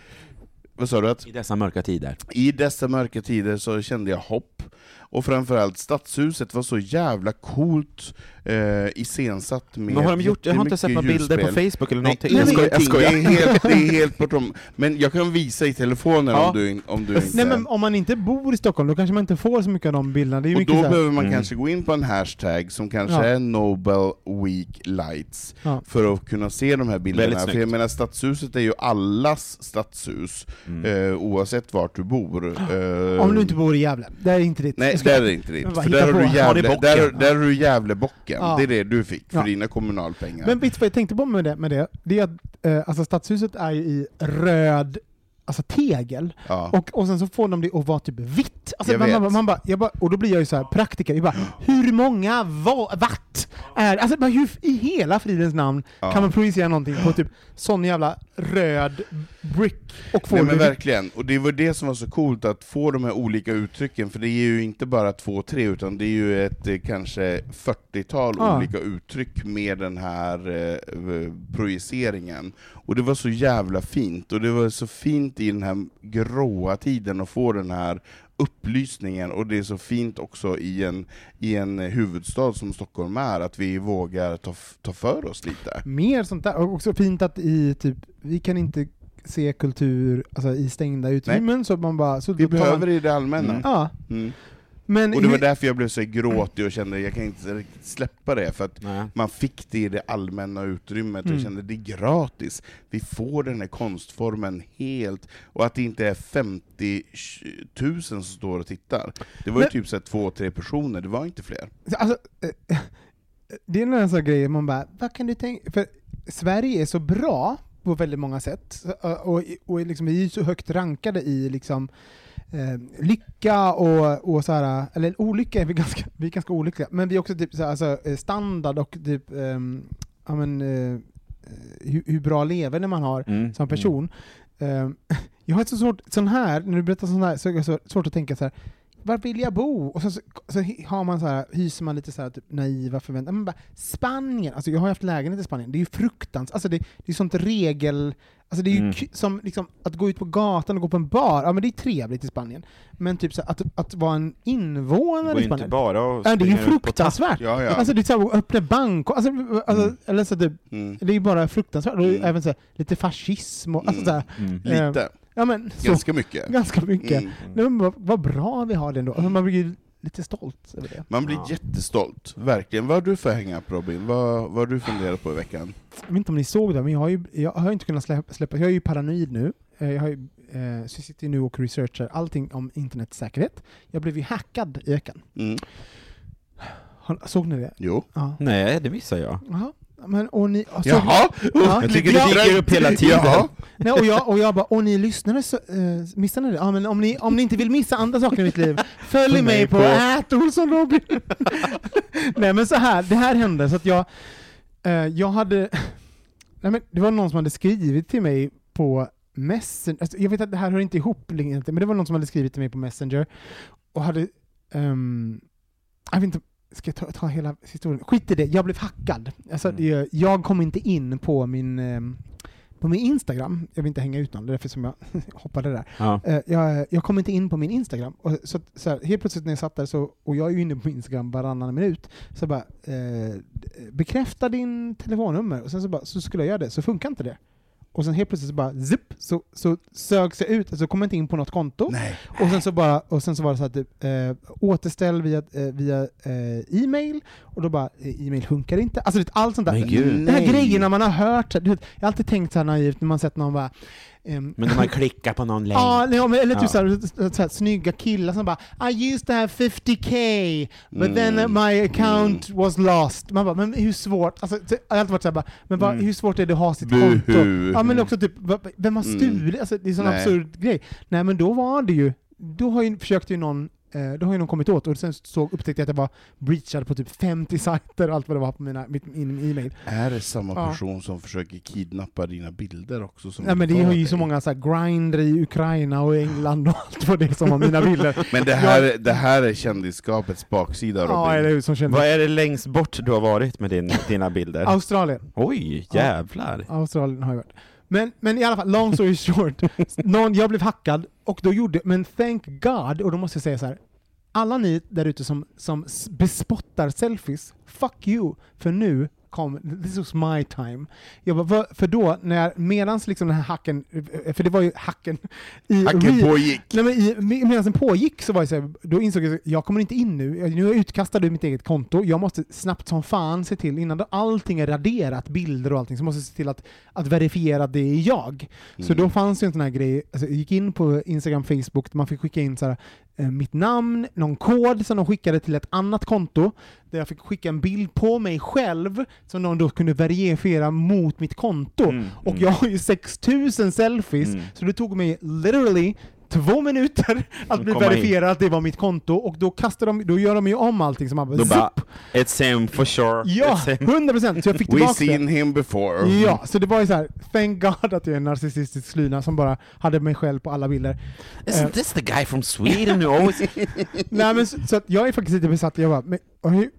B: Vad sa du? Att
D: I dessa mörka tider.
B: i dessa mörka tider så kände jag hopp, och framförallt stadshuset var så jävla coolt eh, iscensatt med
D: Men har de gjort, jag har inte
B: jättemycket
D: sett några bilder på
B: ljusspel.
D: Facebook eller
B: Nej,
D: någonting.
B: jag skojar, jag
D: Ingenting.
B: skojar. Det, är helt, det är helt bortom. Men jag kan visa i telefonen
D: Ja.
B: om du, in- om du inte...
C: Nej men om man inte bor i Stockholm, då kanske man inte får så mycket av de bilderna. Det är ju
B: och
C: mycket
B: då
C: så här-
B: behöver man
D: Mm.
B: kanske gå in på en hashtag som kanske
C: Ja.
B: är Nobel Week Lights
C: Ja.
B: för att kunna se de här bilderna.
D: Väldigt
B: För jag
D: snyggt.
B: menar, stadshuset är ju allas stadshus,
D: Mm.
B: eh, oavsett vart du bor. Eh,
C: Om du inte bor i Gävle. Det är inte ditt.
B: Nej,
C: Jag ska-
B: där är det inte ditt.
C: Men bara
B: För
C: hitta
B: där har,
C: på.
B: du
D: Har ni
B: jävla,
D: bocken?
B: där, där har du Gävlebocken.
C: Ja.
B: Det är det du fick för
C: Ja.
B: dina kommunalpengar.
C: Men vet du vad jag tänkte på med det, med det? det är att eh, alltså stadshuset är ju i röd alltså tegel,
B: ja.
C: och, och sen så får de det att vara typ vitt. Alltså
B: Jag
C: man, man,
B: vet.
C: man bara, jag bara, och då blir jag ju så här praktiker, jag bara, hur många va, watt är Alltså bara, hur i hela fridens namn
B: Ja.
C: kan man projicera någonting på typ sån jävla röd brick och få
B: Nej
C: det
B: men
C: vitt?
B: verkligen, och det var det som var så coolt, att få de här olika uttrycken, för det är ju inte bara två, tre, utan det är ju ett eh, kanske 40-tal
C: Ja.
B: olika uttryck med den här eh, projiceringen. Och det var så jävla fint, och det var så fint i den här gråa tiden att få den här upplysningen, och det är så fint också i en, i en huvudstad som Stockholm är, att vi vågar ta, f- ta för oss lite.
C: Mer sånt där. Och också fint att i typ, vi kan inte se kultur alltså, i stängda utrymmen, så man bara... Så
B: Vi
C: då tar man-
B: behöver det i det allmänna.
C: Ja.
B: Mm.
C: Men
B: Och det var
C: hur-
B: därför jag blev så gråtig och kände att jag kan inte riktigt släppa det, för att
D: Nej.
B: man fick det i det allmänna utrymmet, och
C: Mm.
B: jag kände att det är gratis. Vi får den här konstformen helt, och att det inte är 50 000 som står och tittar. Det var ju
C: Men-
B: typ så här två, tre personer, det var inte fler.
C: Alltså, eh, det är en sån här grej man bara, vad kan du tänka? För Sverige är så bra på väldigt många sätt, Så, eh, och, och liksom, vi är ju så högt rankade i liksom, eh, lycka och, och så här, eller olycka är vi ganska, vi är ganska olyckliga, men vi är också typ så här, alltså, eh, standard och typ, ehm, ja men, eh, hur, hur bra leverne man har
D: Mm.
C: som person. Ehm, jag har så svårt, sån här, när du berättar sån här, så är det så svårt att tänka så här. var vill jag bo? Och så, så, så har man så här, hyser man lite så här typ naiva förväntningar. Men bara, Spanien, alltså jag har ju haft lägenhet i Spanien, det är ju fruktansvärt, alltså det, det är sånt regel... Alltså det är ju
D: Mm.
C: k- som liksom, att gå ut på gatan och gå på en bar, ja men det är trevligt i Spanien. Men typ så här, att, att vara en
D: Det
C: invånare
D: går
C: i
D: ju inte
C: Spanien,
D: bara och
C: Ja, det är ju
D: springa runt på tapp.
C: fruktansvärt!
B: Ja, ja.
C: Alltså det är så här, att öppna bank, och, alltså, alltså,
B: Mm.
C: eller så typ,
B: Mm.
C: det är ju bara fruktansvärt. Och
B: Mm.
C: även så här, lite fascism och alltså
B: Mm.
C: så här,
D: Mm.
C: Eh,
B: Lite,
C: Ja men, så, ganska,
B: ganska mycket.
C: mycket.
B: Mm.
C: Nej, men vad, vad bra vi har det ändå. Alltså, man blir ju lite stolt över det.
B: Man blir
D: Ja.
B: jättestolt, verkligen. Vad har du för hang-up Robin? Vad, vad har du funderat på i veckan?
C: Jag vet inte om ni såg det, men jag har ju jag har ju inte kunnat släppa, släppa jag är ju paranoid nu. Eh, Jag, har ju, eh, så jag sitter ju nu och researchar allting om internetsäkerhet. Jag blev ju hackad i veckan.
B: Mm.
C: Har- Såg ni det?
B: Jo.
C: Ja.
D: Nej, det missar jag.
C: Jaha. Men, och ni, och såg ni-
B: Jaha!
C: Ja.
D: Jag tycker det
C: Ja.
D: dyker upp hela tiden.
B: Jaha.
C: Nej, och, jag, och jag bara, och ni lyssnare, så, eh, missar ni det? Ja, men om ni, om ni inte vill missa andra saker i mitt liv, följ mig på @olssonrobin. Nej men så här, det här hände så att jag, eh, jag hade, nej men det var någon som hade skrivit till mig på Messenger, alltså, jag vet att det här hör inte ihop, längre inte, men det var någon som hade skrivit till mig på Messenger och hade, ehm, jag vet inte, ska jag ta, ta hela historien? Skit i det, jag blev hackad. Alltså,
E: Mm.
C: jag, jag kom inte in på min ehm, på min Instagram, jag vill inte hänga ut någon, det är därför som jag hoppade där.
D: Ja.
C: Eh, jag, jag kom inte in på min Instagram. Och så, att- så här, helt plötsligt när jag satt där, så, och jag är ju inne på Instagram varannan minut, så bara eh, bekräfta din telefonnummer, och sen så, bara, så skulle jag göra det, så funkar inte det. Och sen helt plötsligt så bara zipp, så, så sögs jag ut, alltså kom jag inte in på något konto.
B: Nej.
C: Och sen så, bara, och sen så var det så att typ, eh, återställ via, eh, via eh, e-mail, och då bara eh, e-mail funkar inte. Alltså du vet, allt sånt där.
D: Men gud.
C: De här
B: Nej.
C: grejerna man har hört, du vet, jag har alltid tänkt så här naivt när man sett någon bara ehm,
D: Men när man klickar på någon länk.
C: Ja, nej, men- eller
D: Ja.
C: typ såhär, såhär, snygga killar som bara I used to have 50k, but then my account was lost. Man bara, men hur svårt? Alltså, så- jag har alltid varit såhär bara, men bara, hur svårt är det att ha sitt
B: Buhu.
C: konto? Ja men också typ, va- va- vem har stulit? Alltså, det är en sån
B: Nej.
C: absurd grej. Nej men då var det ju, då har ju, försökte ju någon eh, då har ju någon kommit åt och sen såg, upptäckte jag att jag var breachad på typ 50 sajter och allt vad det var på mina, mitt, min e-mail.
B: Är det samma
C: Ja.
B: person som försöker kidnappa dina bilder också? Som
C: Nej men det
B: tar
C: har ju
B: dig?
C: så många så här grinder i Ukraina och England och allt vad det är som har mina bilder.
B: Men det här, det här är kändisskapets baksida Robin.
C: Ja, eller hur, som kändes.
D: Vad är det längst bort du har varit med din, dina bilder?
C: Alltså- Australien.
D: Oj, jävlar.
C: Australien har jag varit. Men, men i alla fall, long story short. Någon, jag blev hackad och då gjorde, men thank God, och då måste jag säga så här. Alla ni där ute som, som s- bespottar selfies, fuck you! För nu kom, this was my time. Jag bara, "Va?" för då, när, medans liksom den här hacken, eh, för det var ju hacken i
B: Hacken
C: real-
B: pågick!
C: Nej, men i, med- medan den pågick så var jag så här, då insåg jag att jag kommer inte in nu. Jag- Nu är jag utkastad ur mitt eget konto. Jag måste snabbt som fan se till, innan då allting är raderat, bilder och allting, så måste jag se till att, att verifiera att det är jag. Så då fanns ju en sån här grej, alltså, jag gick in på Instagram, Facebook, man fick skicka in så här, eh, mitt namn, någon kod som de skickade till ett annat konto, där jag fick skicka en bild på mig själv, som någon då kunde verifiera mot mitt konto. Och jag har ju 6000 selfies, så det tog mig literally två minuter att bli
D: Komma in.
C: verifierad att det var mitt konto, och då kastar de, då gör de ju om allting, så man bara,
D: Då bara,
C: zipp!
D: it's him for sure.
C: Ja,
D: It's him.
C: 100%! Så jag fick
B: We
C: tillbaka det.
B: seen him before.
C: Ja, så det var ju så här. thank God att jag är en narcissistisk slyna som bara hade mig själv på alla bilder.
D: Isn't this the guy from Sweden who always...
C: Nej men så, så att jag är faktiskt lite besatt, jag bara, men, och hur,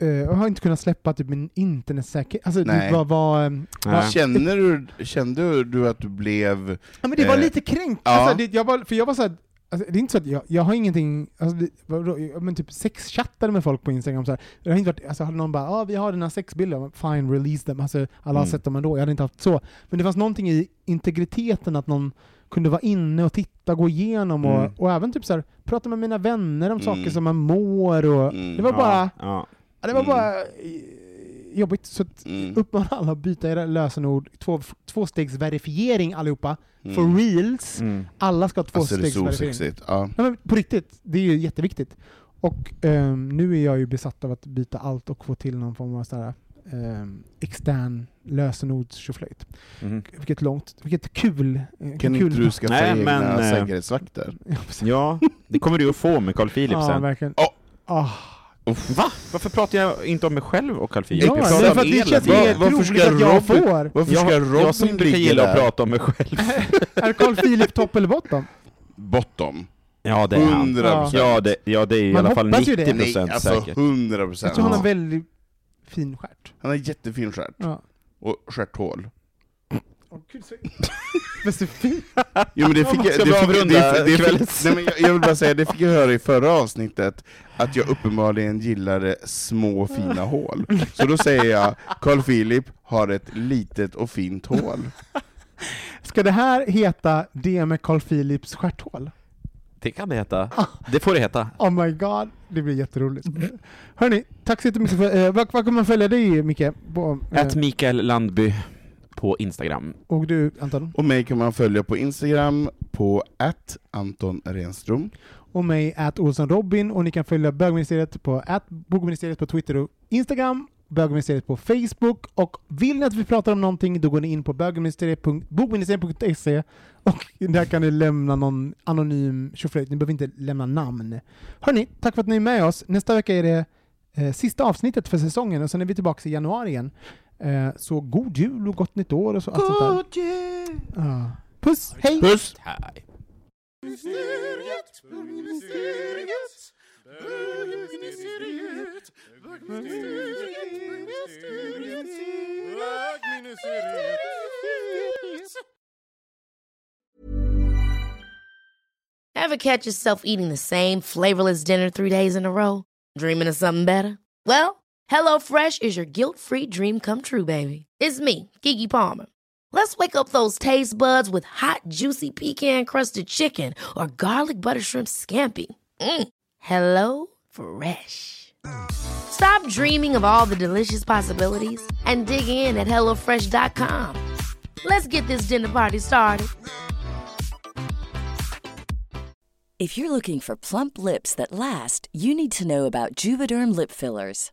C: eh, jag har inte kunnat släppa typ min internetsäkerhet, alltså det
B: Nej.
C: var, var ehm,
D: Nej.
B: Känner du, kände du att du blev...
C: Ja men det var
B: Eh,
C: lite kränkt.
B: ja.
C: Alltså, det, jag var, för jag var såhär, alltså, det är inte så att jag, jag har ingenting, alltså, det, vadå, jag- men typ sexchattade med folk på Instagram så här. Det har inte varit, alltså hade någon bara ah, vi har dina sexbilder, Jag bara, fine release them, alltså, alla har
D: Mm.
C: sett dem ändå, jag hade inte haft så. Men det fanns någonting i integriteten att någon kunde vara inne och titta, gå igenom och,
D: Mm.
C: och även typ så här, prata med mina vänner om saker
B: Mm.
C: som man mår och
B: Mm.
C: det var bara,
D: Ja,
C: ja, det var
B: Mm.
C: bara eh, jobbigt. Så att,
B: Mm.
C: uppmana alla att byta era lösenord, två, tvåstegsverifiering allihopa,
B: Mm.
C: for reals.
D: ja. Mm.
C: Alla ska ha
B: Alltså det är så
C: tvåstegsverifiering.
B: osexigt. Ja.
C: Nej, men på riktigt, det är ju jätteviktigt. Och ehm, nu är jag ju besatt av att byta allt och få till någon form av sådär, um, extern lösenordstjoflöjt.
D: Mhm.
C: Vilket långt, vilket kul. eh,
B: Kan
C: kul
B: inte du skaffa
D: Nej,
B: egna
D: men, eh,
B: säkerhetsvakter?
C: Ja, precis.
D: ja, det kommer du att få med Carl Philip
C: ja,
D: sen.
C: verkligen.
B: Ja.
C: Ah.
D: Va? Varför pratar jag inte om mig själv och Carl Philip?
C: Ja,
D: Jag
C: det
D: pratar
C: är
D: om
C: för att
D: er
C: det känns
D: hela tiden.
C: mer
B: Varför
C: troligt
B: ska
C: att jag
B: Robin-
C: får.
B: Varför
D: Jag,
B: ska Robin
D: jag som brukar
B: ligga
D: gilla att
B: där?
D: prata om mig själv.
C: Är Carl Philip topp eller bottom?
B: Bottom.
D: Ja, det är han.
B: 100
C: Ja.
B: procent.
D: Ja, det, ja, det är i
C: Man
D: alla fall
C: hoppas ju det.
D: 90
B: Nej,
D: procent
B: alltså
D: säkert.
B: 100
C: Jag
B: procent.
C: tror han har
D: Ja.
C: en väldigt fin stjärt.
B: Han har jättefin stjärt.
C: Ja.
B: Och stjärthål.
C: Specifikt.
B: Jo men det fick jag, det
D: Ska vi
B: fick,
D: avrunda
B: det, det
D: kvällens-
B: fick, nej, men jag, jag vill bara säga, det fick jag höra i förra avsnittet, att jag uppenbarligen gillade små fina hål. Så då säger jag, Carl Philip har ett litet och fint hål.
C: Ska det här heta det med Carl Philips stjärthål?
D: Det kan det heta. Det får det heta.
C: Oh my god, det blir jätteroligt. Hörni, tack så jättemycket för... Eh, var, var kan man följa dig Micke? På, eh,
D: Ät Mikael Landby på Instagram.
C: Och du Anton?
B: Och mig kan man följa på Instagram på att Anton Renström.
C: Och mig at Olsson Robin och ni kan följa bögministeriet på at bogministeriet på Twitter och Instagram bögministeriet på Facebook och vill ni att vi pratar om någonting då går ni in på bögministeriet.bogministeriet.se och där kan ni lämna någon anonym tjoflöjt. Ni behöver inte lämna namn. Hörni, tack för att ni är med oss. Nästa vecka är det eh, sista avsnittet för säsongen och sen är vi tillbaka i januari igen. Eh, så god jul och gott nytt år och så, allt sånt där.
A: God jul!
C: Ja. Puss, hej!
B: Puss!
D: Hej.
A: Mysteriet, bögministeriet, bögministeriet, bögministeriet, bögministeriet.
H: Ever catch yourself eating the same flavorless dinner three days in a row? Dreaming of something better? Well, HelloFresh is your guilt free dream come true, baby. It's me, Gigi Palmer. Let's wake up those taste buds with hot, juicy pecan crusted chicken or garlic butter shrimp scampi. Mm. Hello Fresh. Stop dreaming of all the delicious possibilities and dig in at HelloFresh.com. Let's get this dinner party started.
F: If you're looking for plump lips that last, you need to know about Juvederm lip fillers.